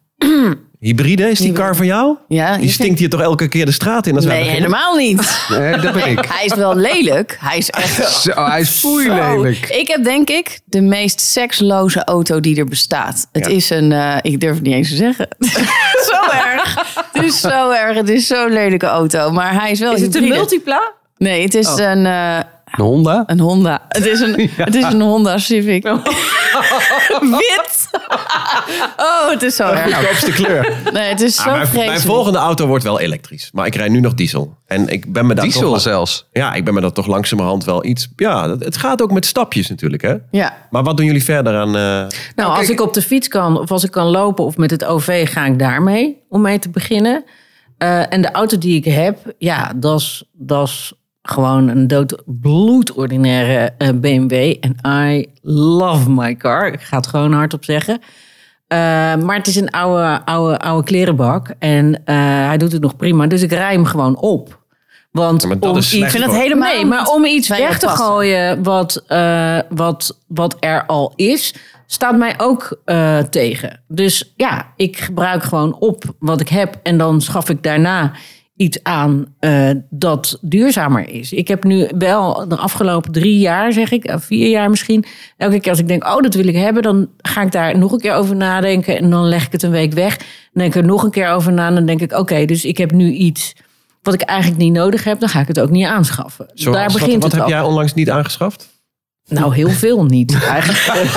D: Hybride is die car van jou?
A: Ja,
D: Die stinkt hier toch elke keer de straat in als wij
A: Nou, Nee,
D: beginnen?
E: *laughs*
A: helemaal niet.
E: Nee, dat ben
A: *laughs*
E: ik.
A: Hij is wel lelijk. Hij
E: *laughs*
A: is echt
E: Zo, hij is foei
A: Zo.
E: lelijk.
A: Ik heb denk ik de meest seksloze auto die er bestaat. Het
D: Ja.
A: is een, eh, ik durf het niet eens te zeggen. *laughs* zo erg. Het is zo erg. Het is zo'n lelijke auto. Maar hij is wel
C: Is het een
A: hybride.
C: multipla?
A: Nee, het is een, eh,
E: Een Honda?
A: een Honda. Het is een, het is een Honda Civic. Wit. oh, het is zo erg.
D: nou, Goedkoopste kleur.
A: Nee, het is *laughs* zo
D: Ah, mijn,
A: vreselijk.
D: mijn volgende auto wordt wel elektrisch. Maar ik rijd nu nog diesel. En ik ben me daar toch
E: Diesel
D: la-
E: zelfs.
D: Ja, ik ben me dat toch langzamerhand wel iets... Ja, dat- het gaat ook met stapjes natuurlijk, hè?
A: Ja.
D: Maar wat doen jullie verder aan... eh,
C: Nou, als
E: kijk.
C: ik op de fiets kan of als ik kan lopen of met het OV ga ik daarmee om mee te beginnen. Eh, en de auto die ik heb, ja, dat is- dat is gewoon een dood bloedordinaire eh, BMW. En I love my car. Ik ga het gewoon hardop zeggen. Eh, maar het is een oude, oude, oude klerenbak. En eh, hij doet het nog prima. Dus ik rij hem gewoon op. Want
D: Ja, maar dat
C: om
D: is
C: iets
D: slecht Ik vind het
A: voor- helemaal
C: Nee,
A: niet
C: maar om iets
A: bij jou
C: weg te
A: passen.
C: gooien wat, eh, wat, wat er al is, staat mij ook eh, tegen. Dus ja, ik gebruik gewoon op wat ik heb. En dan schaf ik daarna iets aan eh, dat duurzamer is. Ik heb nu wel de afgelopen drie jaar, zeg ik, eh, vier jaar misschien. Elke keer als ik denk, oh, dat wil ik hebben, dan ga ik daar nog een keer over nadenken. En dan leg ik het een week weg. Dan denk ik er nog een keer over na. En dan denk ik, oké, dus ik heb nu iets wat ik eigenlijk niet nodig heb, dan ga ik het ook niet aanschaffen.
D: zoals-
C: Daar
D: wat-
C: begint
D: Wat
C: het
D: heb
C: al.
D: jij onlangs niet aangeschaft?
C: Nou, heel veel
E: *laughs*
C: niet eigenlijk.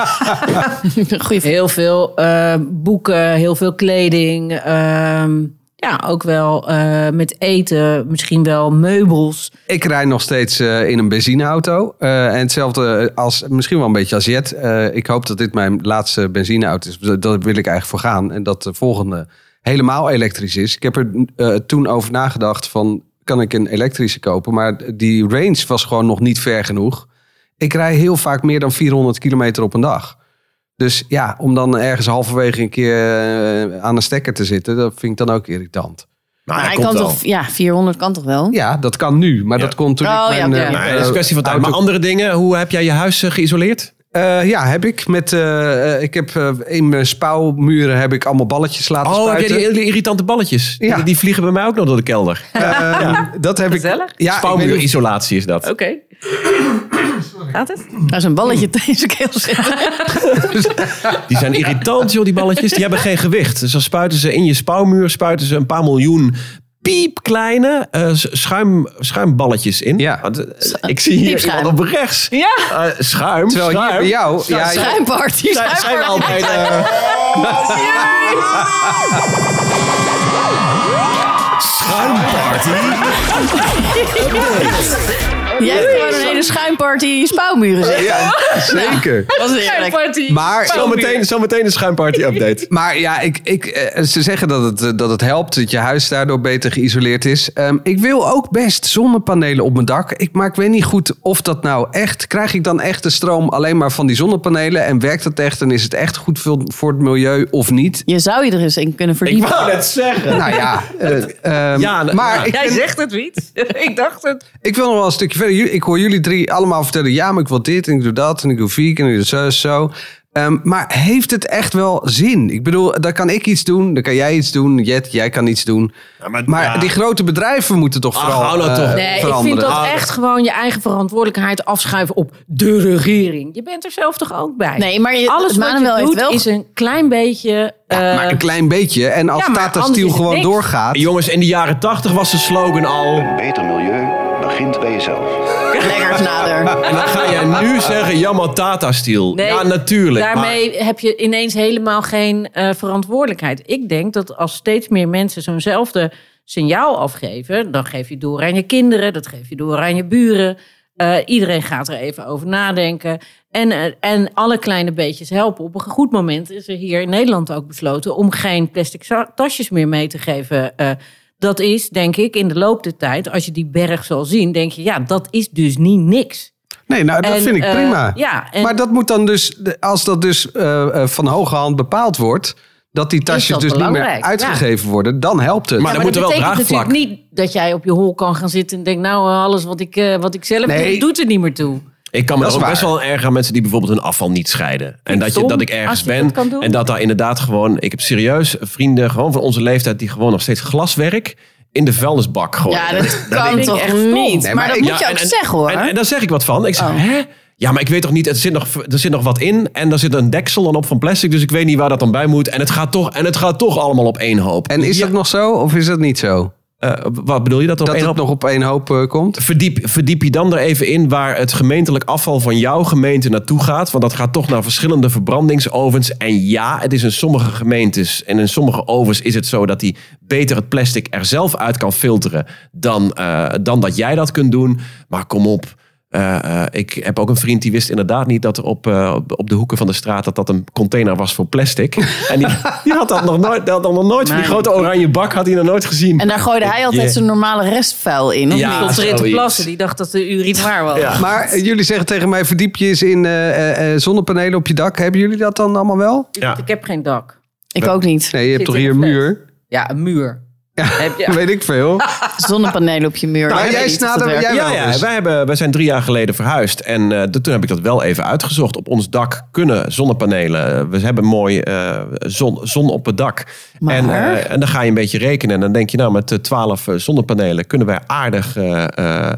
A: Goeie
C: heel veel eh, boeken, heel veel kleding. ehm, ja, ook wel eh, met eten, misschien wel meubels.
E: Ik rijd nog steeds eh, in een benzineauto. Eh, en hetzelfde als, misschien wel een beetje als Jet. Eh, ik hoop dat dit mijn laatste benzineauto is. Dat- Daar wil ik eigenlijk voor gaan. En dat de volgende helemaal elektrisch is. Ik heb er eh, toen over nagedacht van, kan ik een elektrische kopen? Maar die range was gewoon nog niet ver genoeg. Ik rij heel vaak meer dan 400 kilometer op een dag. Dus ja, om dan ergens halverwege een keer eh, aan een stekker te zitten, dat vind ik dan ook irritant.
A: Maar
D: dat
A: hij
D: Ah, komt
A: kan
D: wel.
A: toch, ja, 400 kan toch wel?
E: Ja, dat kan nu, maar
D: Ja.
E: dat komt toen ik
A: Oh, ja,
E: mijn,
A: ja.
E: eh,
D: Nou, het is een kwestie van tijd. Maar
E: auto-
D: andere dingen, hoe heb jij je huis eh, geïsoleerd?
E: Eh, ja, heb ik. Met, eh, eh, ik heb, eh, in mijn spouwmuren heb ik allemaal balletjes laten
D: Oh, heb jij
E: spuiten.
D: die, hele irritante balletjes?
E: Ja.
D: Die, die vliegen bij mij ook nog door de kelder.
E: Eh, Dat heb
C: Gezellig.
E: ik. Ja, ik weet niet-
D: Spouwmuurisolatie is dat.
C: Oké. *coughs* Gaat het?
A: Daar is een balletje tijdens ik heel zitten.
D: Die zijn irritant, joh, die balletjes. Die hebben geen gewicht. Dus dan spuiten ze in je spouwmuur spuiten ze een paar miljoen piepkleine eh, s- schuim, schuimballetjes in.
E: Ja.
D: Want, eh, ik zie hier
A: Piepschuim.
D: iemand op rechts.
C: Ja.
D: Eh, schuim,
E: Terwijl hier
D: schuim.
E: bij jou. Ja,
A: Schuimparty.
D: Zijn, zijn we
A: schuimparty.
D: al bij de... Schuimparty?
A: Jij hebt gewoon een hele schuimparty spouwmuren zitten.
D: *laughs*
E: ja, zeker.
A: Dat is eerlijk.
E: Maar,
D: Zometeen, zometeen een schuimparty-update.
E: maar ja, ik, ik, eh, ze zeggen dat het, eh, dat het helpt, dat je huis daardoor beter geïsoleerd is. Ehm, ik wil ook best zonnepanelen op mijn dak. Ik, maar ik weet niet goed of dat nou echt... Krijg ik dan echt de stroom alleen maar van die zonnepanelen? En werkt dat echt? En is het echt goed voor, voor het milieu of niet?
A: Je zou je er eens in kunnen
D: *laughs* Ik
A: verdiepen.
D: wou net zeggen.
E: Nou ja, eh, ehm,
D: Ja, nou,
E: maar
D: ja.
E: Ik,
C: Jij
E: ben-
C: zegt het niet. *laughs* ik dacht het.
E: Ik wil nog wel een stukje verder. Jullie- Ik hoor jullie drie allemaal vertellen: ja, maar ik wil dit en ik doe dat en ik doe vegan en ik doe zo en zo. Ehm, maar heeft het echt wel zin? Ik bedoel, daar kan ik iets doen, dan kan jij iets doen, Jet, jij kan iets doen.
D: Ja, maar-
E: maar
D: ja.
E: die grote bedrijven moeten toch
D: Ach,
E: vooral
D: hou nou
E: eh,
D: toch.
C: Nee, ik vind
E: veranderen. Ah.
C: dat echt gewoon je eigen verantwoordelijkheid afschuiven op de regering. Je bent er zelf toch ook bij?
A: Nee, maar je,
C: Alles wat
A: Manuel
C: je
A: heeft
C: doet
A: wel...
C: is een klein beetje...
E: Ja, maar
C: eh,
E: een klein beetje. En als
C: Ja, maar
E: Tata
C: anders
E: Steel
C: is het
E: gewoon
C: niks.
E: doorgaat.
D: Jongens, in de jaren tachtig was de slogan al...
F: Een beter milieu begint bij jezelf.
A: lekker nader.
D: En dan ga jij nu zeggen, jammer Tata Steel.
C: Nee,
D: ja, natuurlijk.
C: Daarmee heb je ineens helemaal geen eh, verantwoordelijkheid. Ik denk dat als steeds meer mensen zo'nzelfde signaal afgeven, dan geef je door aan je kinderen, dat geef je door aan je buren. Eh, iedereen gaat er even over nadenken. En, eh, en alle kleine beetjes helpen. Op een goed moment is er hier in Nederland ook besloten om geen plastic za- tasjes meer mee te geven. eh, dat is, denk ik, in de loop der tijd, als je die berg zal zien, denk je, ja, dat is dus niet niks.
E: Nee, nou, dat
C: En,
E: vind ik
C: eh,
E: prima.
C: ja, en-
E: maar dat moet dan dus, als dat dus eh, eh, van hoge hand bepaald wordt, dat die tasjes
C: dat
E: dus niet meer
C: belangrijk?
E: uitgegeven worden, dan helpt het.
D: Maar dan
C: Ja,
D: moet er
C: dat
D: wel
C: betekent
D: draagvlak.
C: natuurlijk niet dat jij op je hol kan gaan zitten en denkt, nou, eh, alles wat ik, eh, wat ik zelf
E: Nee.
C: doe, doet er niet meer toe.
D: Ik kan me
E: Dat
D: er ook
E: is
D: best
E: waar.
D: wel aan ergeren aan mensen die bijvoorbeeld hun afval niet scheiden. En dat, je,
C: stom,
D: dat ik
C: als
D: ergens
C: je dat
D: ben
C: kan doen.
D: en dat daar inderdaad gewoon... Ik heb serieus vrienden gewoon van onze leeftijd die gewoon nog steeds glaswerk in de vuilnisbak gooien.
A: Ja, dat
D: denk
A: kan
D: ik
A: toch
C: echt stom.
A: niet?
E: Nee,
A: maar,
E: maar
A: dat
E: ik-
A: moet
D: Ja,
A: je ook
D: en- en-
A: zeggen hoor. Oh.
D: En, en daar zeg ik wat van. Ik zeg, hè? Ja, maar ik weet toch niet, er zit, nog, er zit nog wat in. En er zit een deksel dan op van plastic, dus ik weet niet waar dat dan bij moet. En het gaat toch, en het gaat toch allemaal op één hoop.
E: En is
D: Ja,
E: dat nog zo of is dat niet zo?
D: eh, wat bedoel je dat er op
E: Dat
D: één hoop?
E: het nog op één hoop eh, komt?
D: Verdiep, verdiep je dan er even in waar het gemeentelijk afval van jouw gemeente naartoe gaat. Want dat gaat toch naar verschillende verbrandingsovens. En ja, het is in sommige gemeentes en in sommige ovens is het zo dat die beter het plastic er zelf uit kan filteren dan, eh, dan dat jij dat kunt doen. Maar kom op. Eh, eh, ik heb ook een vriend die wist inderdaad niet dat er op, eh, op- op de hoeken van de straat dat dat een container was voor plastic. En die, die had dat nog nooit, dat had nog nooit van die grote oranje bak had hij nog nooit gezien.
A: En daar gooide hij altijd
D: Ja.
A: zijn normale restvuil in. Of
D: Ja,
A: niet?
C: Tot erin te
D: zoiets.
C: plassen. Die dacht dat de urine waar was.
D: Ja.
E: Maar
D: *laughs*
E: eh, jullie zeggen tegen mij verdiep je eens in eh, eh, eh, zonnepanelen op je dak. Hebben jullie dat dan allemaal wel?
D: Ja.
C: Ik heb geen dak.
A: Ik ook niet.
E: Nee, je hebt
C: Zit
E: toch
C: in
E: hier een
C: een flat.
E: muur?
C: Ja, een muur. Heb je-
E: Weet ik
A: *laughs*
E: veel.
A: Zonnepanelen op je muur.
E: Nou,
A: Ik weet
E: jij
A: niet of dat
E: snader-
A: werkt.
E: jij-
D: Ja,
E: wel dus.
D: ja
E: eens.
D: wij, hebben, wij zijn drie jaar geleden verhuisd. En eh, de- toen heb ik dat wel even uitgezocht. Op ons dak kunnen zonnepanelen. We hebben mooi eh, zon, zon op het dak. En, eh, en dan ga je een beetje rekenen. En dan denk je, nou, met twaalf zonnepanelen kunnen wij aardig. eh, eh,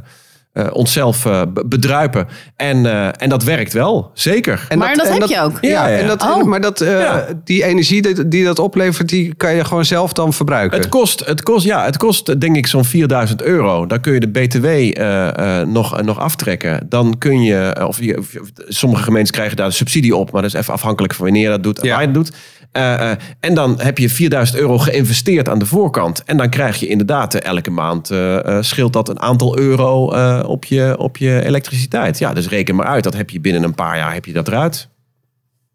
D: eh, onszelf eh, be- bedruipen. En, eh, en dat werkt wel, zeker.
E: En
A: Maar dat
E: en
A: heb je ook?
E: Ja,
D: Ja, ja.
E: En dat,
A: Oh.
E: maar dat, eh,
D: Ja.
E: die energie die, die dat oplevert, die kan je gewoon zelf dan verbruiken.
D: Het kost, het kost, ja, het kost eh, denk ik zo'n 4000 euro. Dan kun je de BTW eh, eh, nog, eh, nog aftrekken. Dan kun je, eh, of, je- of- of- sommige gemeenten krijgen daar een subsidie op, maar dat is even afhankelijk van wanneer je dat doet en
E: Ja.
D: waar je dat doet. Eh, eh, en dan heb je 4000 euro geïnvesteerd aan de voorkant. En dan krijg je inderdaad eh, elke maand eh, eh, scheelt dat een aantal euro eh, op, je, op je elektriciteit. Ja, dus reken maar uit. Dat heb je binnen een paar jaar heb je dat eruit.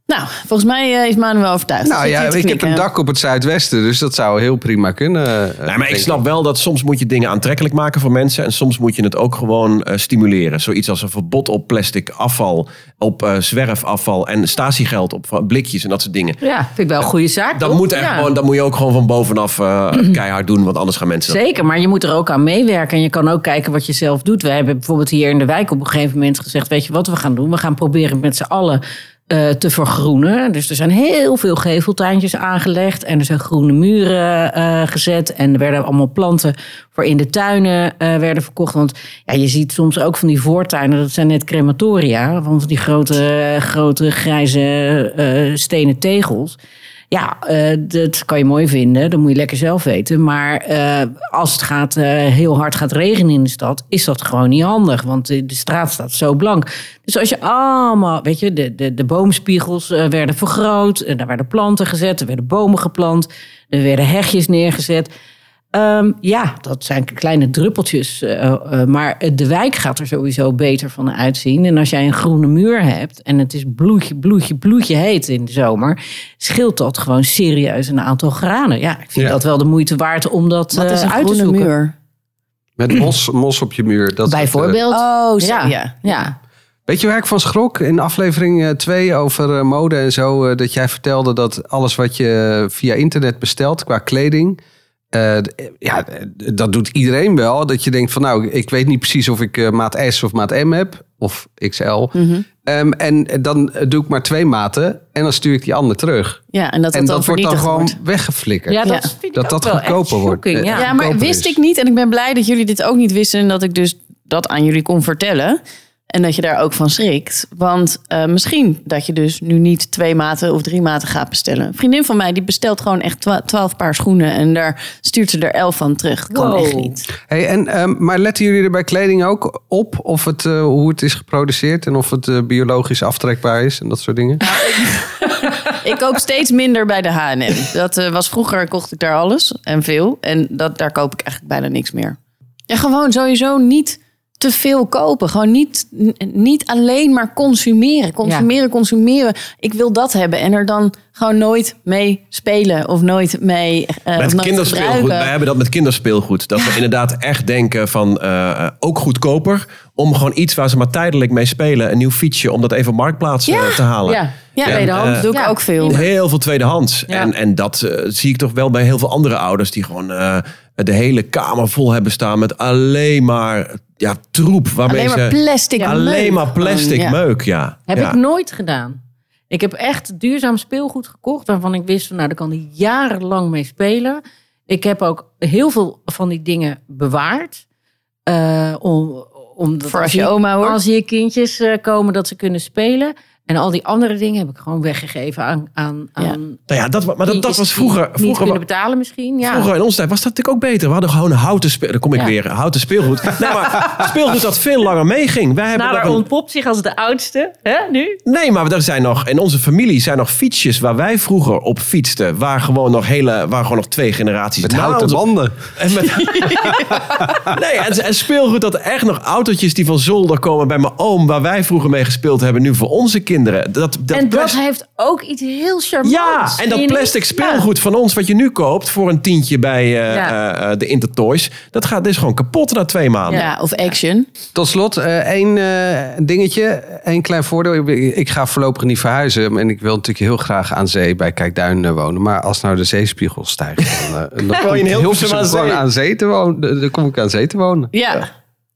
A: Nou, volgens mij eh, is Manuel overtuigd.
E: nou
A: Zit
E: ja,
A: hier te
E: ik heb
A: knikken.
E: een dak op het zuidwesten, dus dat zou heel prima kunnen. eh,
D: Nee, maar
E: denk
D: ik snap wel dat soms moet je dingen aantrekkelijk maken voor mensen. En soms moet je het ook gewoon eh, stimuleren. Zoiets als een verbod op plastic afval, op eh, zwerfafval en statiegeld op va- blikjes en dat soort dingen.
C: Ja, vind ik wel een goede zaak.
D: Dat
C: toch?
D: moet, echt
C: Ja.
D: gewoon, dat moet je ook gewoon van bovenaf
C: *clears throat*
D: eh, keihard doen, want anders gaan mensen... dat-
C: Zeker, maar je moet er ook aan meewerken. En je kan ook kijken wat je zelf doet. We hebben bijvoorbeeld hier in de wijk op een gegeven moment gezegd... weet je wat we gaan doen? We gaan proberen met z'n allen eh, te vergroenen. Dus er zijn heel veel geveltuintjes aangelegd... en er zijn groene muren eh, gezet. En er werden allemaal planten voor in de tuinen eh, werden verkocht. Want ja, je ziet soms ook van die voortuinen... dat zijn net crematoria, want die grote, grote grijze eh, stenen tegels... Ja, eh, dat kan je mooi vinden. Dat moet je lekker zelf weten. Maar eh, als het gaat, eh, heel hard gaat regenen in de stad, is dat gewoon niet handig. Want de, de straat staat zo blank. Dus als je allemaal, weet je, de, de, de boomspiegels eh, werden vergroot. En daar werden planten gezet. Er werden bomen geplant. Er werden hegjes neergezet. Ehm, ja, dat zijn kleine druppeltjes. eh, eh, maar de wijk gaat er sowieso beter van uitzien. En als jij een groene muur hebt en het is bloedje, bloedje, bloedje heet in de zomer, scheelt dat gewoon serieus een aantal granen. Ja, ik vind
E: Ja.
C: dat wel de moeite waard om dat
A: Wat is
C: eh,
A: een
C: uit te
A: groene
C: zoeken.
A: muur?
E: ik. Met mos, mos op je muur. Dat soort, eh,
C: Bijvoorbeeld.
A: Oh, zo,
C: ja.
A: ja.
C: Ja.
E: Weet je waar ik van schrok? In aflevering 2 over eh, mode en zo, eh, dat jij vertelde dat alles wat je eh, via internet bestelt qua kleding, eh, d- eh, ja, d- dat doet iedereen wel. Dat je denkt van nou, ik weet niet precies of ik eh, maat S of maat M heb, of XL.
A: Mhm.
E: Ehm, en dan eh, doe ik maar twee maten en dan stuur ik die ander terug.
A: Ja, en dat
E: en
A: dat dan
E: dat wordt dan
A: vernietigd
E: gewoon
A: wordt.
E: weggeflikkerd.
C: Ja, dat
A: Ja.
C: vind ik
E: Dat
C: ook
E: dat
C: wel echt
E: goedkoper wordt.
C: shocking,
E: Eh,
C: Ja.
A: Ja, maar
E: goedkoper
A: wist
E: is.
A: ik niet. En ik ben blij dat jullie dit ook niet wisten. En dat ik dus dat aan jullie kon vertellen. En dat je daar ook van schrikt. Want eh, misschien dat je dus nu niet twee maten of drie maten gaat bestellen. Een vriendin van mij die bestelt gewoon echt twa- twaalf paar schoenen. En daar stuurt ze er elf van terug. Kan
C: Wow.
A: echt niet.
E: Hey, en, ehm, maar letten jullie er bij kleding ook op of het, eh, hoe het is geproduceerd en of het eh, biologisch aftrekbaar is en dat soort dingen?
A: Ik koop steeds minder bij de H&M. Dat eh, was vroeger, kocht ik daar alles en veel. En dat, daar koop ik eigenlijk bijna niks meer. Ja, gewoon sowieso niet te veel kopen. Gewoon niet, n- niet alleen maar consumeren. Consumeren, consumeren. Ik wil dat hebben. En er dan gewoon nooit mee spelen. Of nooit mee eh, of
D: Met
A: nooit
D: kinderspeelgoed.
A: gebruiken.
D: Wij hebben dat met kinderspeelgoed. Dat we inderdaad echt denken van eh, eh, ook goedkoper. Om gewoon iets waar ze maar tijdelijk mee spelen. Een nieuw fietsje. Om dat even op marktplaats eh, te halen.
C: Ja.
A: Ja,
D: En,
A: tweedehands
D: eh,
A: doe ik
C: ja.
A: ook veel.
D: Heel veel tweedehands.
C: Ja.
D: En, en dat eh, zie ik toch wel bij heel veel andere ouders die gewoon eh, de hele kamer vol hebben staan met alleen maar ja, troep. Waarmee
A: Alleen maar
D: ze,
A: plastic.
D: alleen maar plastic
A: Ja.
D: meuk, ja.
C: Oh, Heb
D: ja.
C: ik nooit gedaan. Ik heb echt duurzaam speelgoed gekocht waarvan ik wist van nou, daar kan hij jarenlang mee spelen. Ik heb ook heel veel van die dingen bewaard. Eh, om, om
A: Voor als je oma hoort.
C: Als hier kindjes eh, komen dat ze kunnen spelen. En al die andere dingen heb ik gewoon weggegeven aan. aan,
A: Ja.
C: aan
D: Nou ja, dat, wa- maar dat, dat
C: kindjes
D: was
C: die
D: vroeger.
C: Niet
D: Vroeger,
C: kunnen
D: wa-
C: betalen misschien. Ja.
D: vroeger in onze tijd was dat natuurlijk ook beter. We hadden gewoon houten speelgoed. Daar kom ik
C: Ja.
D: weer. Houten
C: *laughs*
D: speelgoed. Nee, maar speelgoed dat veel langer meeging. Wij hebben nog
C: Nader
D: een-
C: Nou, ontpopt zich als de oudste. Hè, nu?
D: Nee, maar er zijn nog, in onze familie zijn nog fietsjes waar wij vroeger op fietsten. Waar gewoon nog, hele, waar gewoon nog twee generaties
E: Met
D: na
E: houten
D: ons op-
E: banden.
D: En met- *laughs* nee, en, en speelgoed dat echt nog autootjes die van zolder komen bij mijn oom. Waar wij vroeger mee gespeeld hebben, nu voor onze kinderen. Dat, dat
C: en dat
D: plas-
C: heeft ook iets heel charmants.
D: ja, en
C: Vind
D: dat
C: je niet?
D: plastic
C: Ja.
D: speelgoed van ons wat je nu koopt voor een tientje bij eh,
C: Ja.
D: eh, eh, de Intertoys. Dat gaat dit is gewoon kapot na twee maanden.
A: Ja, of action.
E: Tot slot, eh, één eh, dingetje, één klein voordeel. Ik, ben- ik ga voorlopig niet verhuizen. En ik wil natuurlijk heel graag aan zee bij Kijkduin eh, wonen. Maar als nou de zeespiegel stijgt, dan, eh, dan kom
D: in
E: ik heel
D: Hilversum
E: veel
D: aan
E: gewoon
D: zee.
E: aan zee te wonen. Dan- Dan kom ik aan zee te wonen.
A: Ja,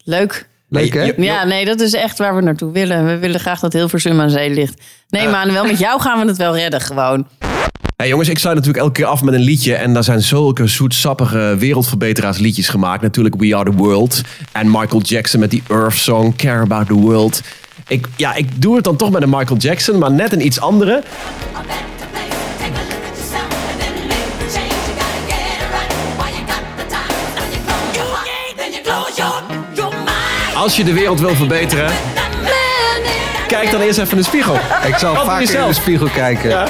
A: leuk.
E: Leuk, hè?
D: Je- je-
A: Ja, nee, dat is echt waar we naartoe willen. We willen graag dat Hilversum aan zee ligt. Nee, Manuel, met jou gaan we het wel redden gewoon. *laughs*
D: Hey jongens, ik sluit natuurlijk elke keer af met een liedje. En daar zijn zulke zoetsappige wereldverbeteraars liedjes gemaakt. Natuurlijk We Are The World. En Michael Jackson met die Earth Song, Care About The World. Ik, ja, ik doe het dan toch met een Michael Jackson, maar net een iets andere.
G: a better place. Take a look at yourself and then make the change. You gotta get it right while you got the time. Now you close your heart, then you close your, your mind.
D: Als je de wereld wil verbeteren, kijk dan eerst even in de spiegel.
E: Ik zal
D: doe
E: vaak
D: je
E: in de
D: zelf.
E: spiegel kijken.
G: Ja.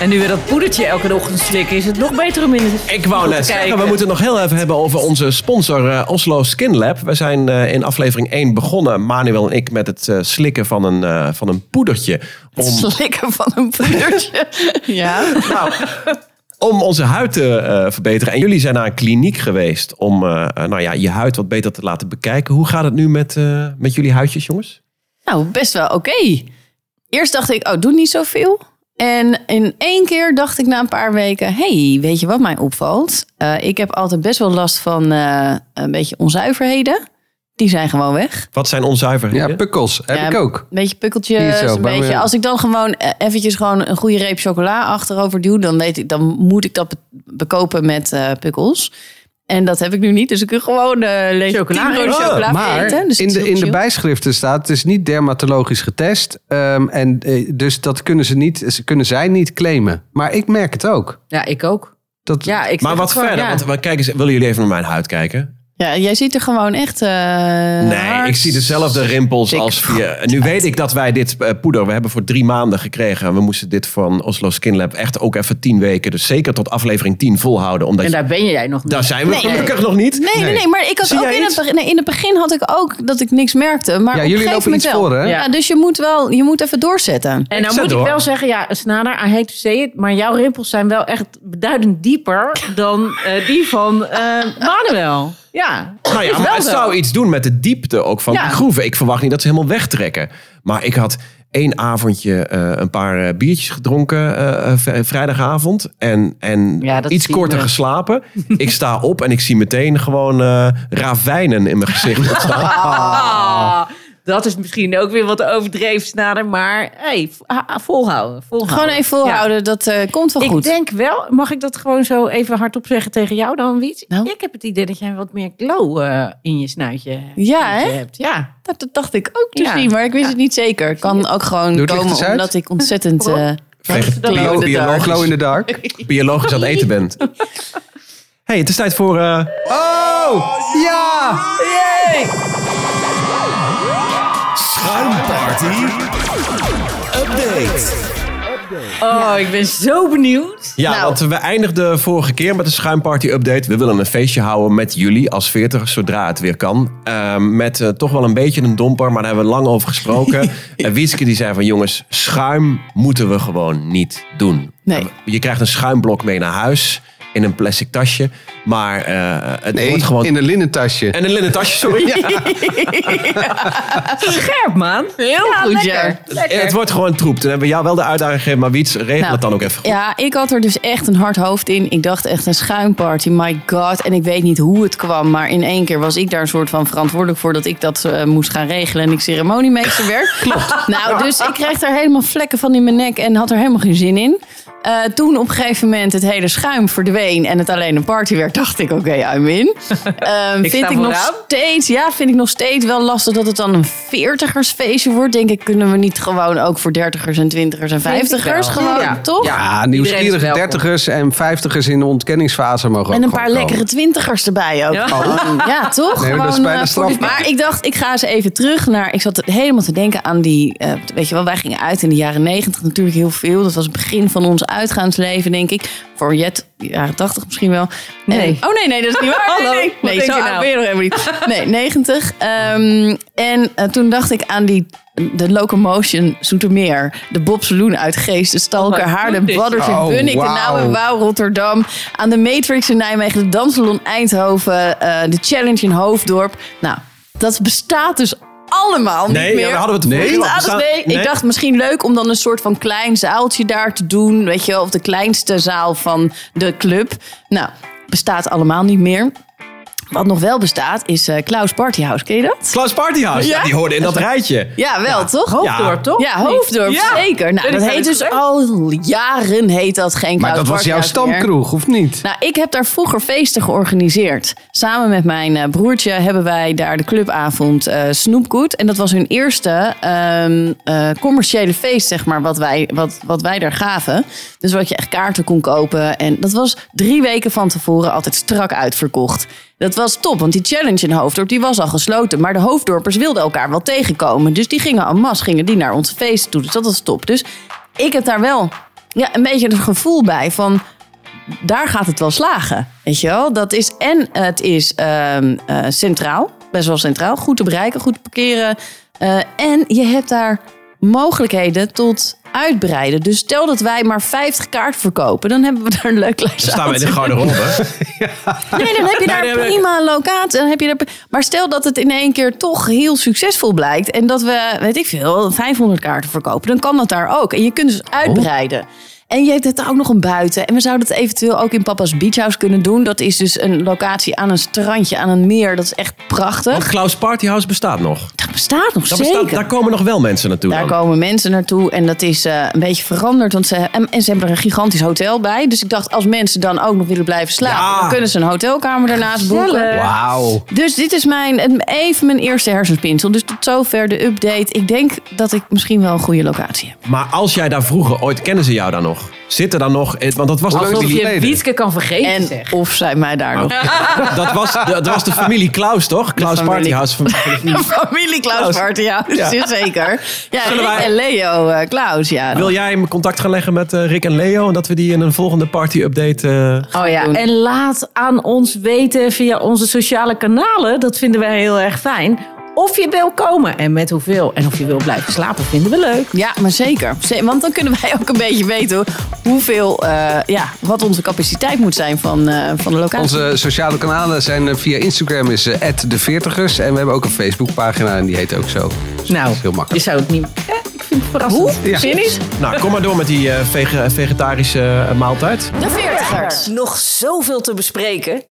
C: En nu we dat poedertje elke ochtend slikken, is het nog beter om in de
D: Ik wou net zeggen, we moeten het nog heel even hebben over onze sponsor eh, Oslo Skin Lab. We zijn eh, in aflevering 1 begonnen, Manuel en ik, met het eh, slikken van een, eh, van een poedertje. Om
A: Slikken van een poedertje. ja.
D: Nou, om onze huid te eh, verbeteren. En jullie zijn naar een kliniek geweest om eh, eh, nou ja, je huid wat beter te laten bekijken. Hoe gaat het nu met, eh, met jullie huidjes, jongens?
A: Nou, best wel oké. Eerst dacht ik, oh, doe niet zoveel. En in één keer dacht ik na een paar weken... hey, weet je wat mij opvalt? Eh, ik heb altijd best wel last van eh, een beetje onzuiverheden. Die zijn gewoon weg.
D: Wat zijn onzuiverheden?
E: Ja, pukkels heb
A: Ja,
E: ik ook.
A: Een beetje
E: Hier
A: pukkeltjes,
E: zo,
A: een
E: bij
A: beetje...
E: me-
A: Als ik dan gewoon eh, eventjes gewoon een goede reep chocola achterover duw... dan, weet ik, dan moet ik dat be- bekopen met eh pukkels. En dat heb ik nu niet. Dus ik kan gewoon eh leeg
C: Chocola.
A: 10 broodjes
D: Oh,
A: chocola
E: Maar
A: eten. Dus het
E: in
A: is
E: de,
A: heel
E: in de
A: chill.
E: bijschriften staat, het is niet dermatologisch getest. ehm, en, eh, dus dat kunnen, ze niet, ze kunnen zij niet claimen. Maar ik merk het ook.
C: Ja, ik ook.
E: Dat,
C: Ja, ik
D: Maar
C: zeg
D: wat
C: het gewoon,
D: verder?
C: ja.
D: Want, want kijk eens, willen jullie even naar mijn huid kijken?
A: Ja, jij ziet er gewoon echt... eh,
D: nee, ik
A: hard-
D: zie dezelfde rimpels
A: dik.
D: als via... En Nu weet ik dat wij dit eh, poeder, we hebben voor drie maanden gekregen. En we moesten dit van Oslo Skin Lab echt ook even tien weken. Dus zeker tot aflevering tien volhouden. Omdat
C: En
D: je-
C: daar ben jij nog niet.
D: daar zijn we
A: Nee,
D: gelukkig nog niet.
A: Nee, nee, nee, maar ik had
D: Zie
A: ook
D: jij
A: in het,
D: iets?
A: begin, nee, in het begin had ik ook dat ik niks merkte. Maar
E: Ja,
A: op een
E: jullie
A: gegeven
E: lopen iets
A: moment wel.
E: voor, hè?
A: Ja. dus je moet wel, je moet even doorzetten.
C: En dan
D: Zet
C: moet ik
D: door.
C: wel zeggen, ja, Snader, I hate to say it, maar jouw rimpels zijn wel echt beduidend dieper dan eh, die van eh, Manuel. Ja,
D: Nou ja,
C: Is
D: maar
C: wel
D: het
C: zo.
D: zou iets doen met de diepte ook van
C: Ja.
D: die groeven. Ik verwacht niet dat ze helemaal wegtrekken. Maar ik had één avondje eh, een paar eh, biertjes gedronken eh, eh, v- vrijdagavond. En, en
C: Ja, dat
D: iets
C: zien
D: korter
C: we. *laughs*
D: geslapen. ik sta op en ik zie meteen gewoon eh, ravijnen in mijn
C: *laughs*
D: gezicht ontstaan.
C: Ah, dat is misschien ook weer wat overdreven, Snader, maar hey, v- ha- volhouden, volhouden.
A: Gewoon even volhouden, dat eh, komt wel
C: Ja. Ik
A: goed.
C: denk wel, mag ik dat gewoon zo even hardop zeggen tegen jou dan, Wiet?
A: Nou?
C: Ik heb het idee dat jij wat meer glow eh, in je snuitje
A: Ja,
C: snuitje
A: hè?
C: hebt. Ja,
A: dat, dat dacht ik ook te
C: Ja.
A: zien, maar ik wist het niet zeker. Kan ook gewoon
E: Doe het licht
A: komen
E: eens uit.
A: omdat ik ontzettend... eh
D: Vege-
C: Glow
D: bio-
C: in the
E: Glow
D: biologisch,
E: in the dark.
D: biologisch aan het eten
C: *laughs*
D: bent. hey, het is tijd voor... eh,
E: Oh, ja!
C: Oh, ik ben zo benieuwd.
D: Ja,
A: Nou.
D: want we eindigden vorige keer met een schuimparty-update. We willen een feestje houden met jullie als veertigers, zodra het weer kan. Ehm, met eh, toch wel een beetje een domper, maar daar hebben we lang over
A: *laughs*
D: gesproken. en Wieske die zei van, jongens, schuim moeten we gewoon niet doen. Eh,
A: Nee.
D: Je krijgt een schuimblok mee naar huis. in een plastic tasje. Maar eh, het
E: Nee,
D: wordt gewoon...
E: in een linnen tasje.
D: En een linnen tasje,
E: *laughs*
D: sorry. *laughs*
C: Scherp, man.
A: Heel goed, ja.
D: Het wordt gewoon troep. Toen hebben we jou wel de uitdaging gegeven, maar Wiets, regel
A: Nou,
D: het dan ook even goed.
A: Ja, ik had er dus echt een hard hoofd in. Ik dacht echt een schuimparty, my god. En ik weet niet hoe het kwam, maar in één keer was ik daar een soort van verantwoordelijk voor... dat ik dat eh, moest gaan regelen en ik ceremoniemeester
D: *laughs*
A: werd. Klopt. Nou, dus ik kreeg daar helemaal vlekken van in mijn nek en had er helemaal geen zin in. Eh, toen op een gegeven moment het hele schuim verdween en het alleen een party werd, dacht ik, oké, I'm
D: *laughs*
A: in. Ehm,
C: Ik
A: vind
C: sta
A: ik nog
C: vooraan.
A: steeds, ja, vind ik nog steeds wel lastig dat het dan een veertigersfeestje wordt. Denk ik, kunnen we niet gewoon ook voor dertigers en twintigers en
C: Vind ik
A: vijftigers
C: wel.
A: gewoon,
C: Ja.
A: toch?
E: Ja,
C: Iedereen is
E: nieuwsgierige
C: welkom.
E: dertigers en vijftigers in de ontkenningsfase mogen
A: En
E: ook
A: een
E: gewoon
A: paar
E: komen.
A: lekkere twintigers erbij ook.
C: Ja. *laughs*
A: Gewoon. Ja, toch?
E: Nee, maar dat is
A: Gewoon,
E: bijna
A: eh, voor die-
E: strafbaar.
A: Maar ik dacht, ik ga eens even terug naar... Ik zat helemaal te denken aan die... eh, weet je wel, wij gingen uit in de jaren negentig natuurlijk heel veel. Dat was het begin van ons uitgaansleven, denk ik. Voor Jet, de jaren tachtig misschien wel. En-
C: Nee.
A: oh nee, nee, dat is
C: *laughs*
A: niet waar.
C: Hallo,
A: nee, nee,
C: wat
A: nee,
C: denk
A: zo
C: je
A: oud
C: nou?
A: ben je nog helemaal niet. Nee, *laughs* negentig. Ehm, en eh, toen dacht ik aan die... De Locomotion Zoetermeer. De Bob Saloon uit Geest. De Stalker
C: Oh,
A: Haarlem.
C: goed is
A: Brothers in
E: Oh,
A: Bunnik. De
E: wauw.
A: Nauwe Wauw Rotterdam. Aan de Matrix in Nijmegen. De Dansalon Eindhoven. eh, de Challenge in Hoofddorp. Nou, dat bestaat dus allemaal
D: Nee,
A: niet
D: ja,
A: meer.
D: daar hadden we het
A: Nee,
D: vorige keer
A: ah,
D: al.
A: dat is-
D: Bestaan-
A: nee,
D: nee.
A: Ik dacht misschien leuk om dan een soort van klein zaaltje daar te doen. Weet je wel, of de kleinste zaal van de club. Nou, bestaat allemaal niet meer. Wat nog wel bestaat is eh Klaus Partyhouse. Ken je dat?
D: Klaus Partyhouse, ja?
A: Ja?
D: die hoorde in dat rijtje.
A: Ja, wel, toch?
C: Hoofddorp, toch?
A: Ja, Hoofddorp,
C: Ja.
A: zeker. Nou,
C: Weet
A: dat
C: ik wel
A: heet
C: eens
A: dus al jaren heet dat geen
E: Maar
A: Klaus
E: dat was jouw
A: Bartjaars meer.
E: stamkroeg, of niet?
A: Nou, ik heb daar vroeger feesten georganiseerd. Samen met mijn eh, broertje hebben wij daar de clubavond eh Snoepgoed. En dat was hun eerste ehm, eh, commerciële feest, zeg maar, wat wij, wat, wat wij daar gaven. Dus wat je echt kaarten kon kopen. En dat was drie weken van tevoren altijd strak uitverkocht. Dat was top, want die challenge in Hoofddorp die was al gesloten. Maar de Hoofddorpers wilden elkaar wel tegenkomen. Dus die gingen en masse, gingen die naar onze feesten toe. Dus dat was top. Dus ik heb daar wel ja, een beetje het gevoel bij van daar gaat het wel slagen. Weet je wel? Dat is, en het is ehm, eh, centraal, best wel centraal. Goed te bereiken, goed te parkeren. Eh, en je hebt daar mogelijkheden tot uitbreiden. Dus stel dat wij maar 50 kaarten verkopen, dan hebben we daar een leuk lijstje
D: Dan staan we in de
A: *laughs*
D: garderobe.
A: Nee, dan heb je daar
D: Nee, nee, nee.
A: prima locatie. Dan heb je daar... pre- Maar stel dat het in één keer toch heel succesvol blijkt. En dat we, weet ik veel, 500 kaarten verkopen. Dan kan dat daar ook. En je kunt dus uitbreiden. En je hebt het ook nog een buiten. En we zouden het eventueel ook in Papa's Beach House kunnen doen. Dat is dus een locatie aan een strandje, aan een meer. Dat is echt
D: Want
A: prachtig.
D: Klaus Partyhouse bestaat nog.
A: Dat bestaat nog
D: Dat
A: zeker.
D: Oh, bestaat, daar komen nog wel mensen naartoe
A: Daar
D: dan.
A: komen mensen naartoe en dat is eh, een beetje veranderd. Want ze, en, en ze hebben er een gigantisch hotel bij. Dus ik dacht, als mensen dan ook nog willen blijven slapen...
D: Ja.
A: dan kunnen ze een hotelkamer daarnaast boeken.
E: Wauw.
A: Dus dit is mijn, een- even mijn eerste hersenspinsel. Dus tot zover de update. Ik denk dat ik misschien wel een goede locatie heb.
D: Maar als jij daar vroeger, ooit kennen ze jou daar nog? Zitten daar nog? eh, Want dat was,
E: Hoe lang
C: Alsof
E: is die
C: je
E: geleden?
C: Wietke kan vergeten,
A: En
C: zeg.
A: of zij mij daar nog.
D: Oh. dat, was, dat was de familie Klaus, toch? Klaus
A: familie.
D: Partyhouse.
A: De familie Klaus Bart, ja,
D: Ja.
A: ja. zeker. Ja,
D: Zullen
A: Rick
D: wij-
A: en Leo eh, Klaus, ja.
D: Wil jij hem contact gaan leggen met eh, Rick en Leo? En dat we die in een volgende party-update... eh,
C: Oh ja, en laat aan ons weten via onze sociale kanalen. Dat vinden wij heel erg fijn. Of je wil komen en met hoeveel. En of je wil blijven slapen, vinden we leuk.
A: Ja, maar zeker. Ze- Want dan kunnen wij ook een beetje weten hoeveel, eh, ja, wat onze capaciteit moet zijn van, eh, van de locatie.
E: Onze sociale kanalen zijn eh, via Instagram is eh, de 40 En we hebben ook een Facebookpagina en die heet ook zo. Dus dat
C: Nou,
E: is heel makkelijk.
C: je zou het niet... Ja, ik vind het verrassend.
E: Ja.
A: Zin is?
D: Nou, kom maar door met die eh, vege- vegetarische eh, maaltijd.
A: De 40ers.
B: Nog zoveel te bespreken.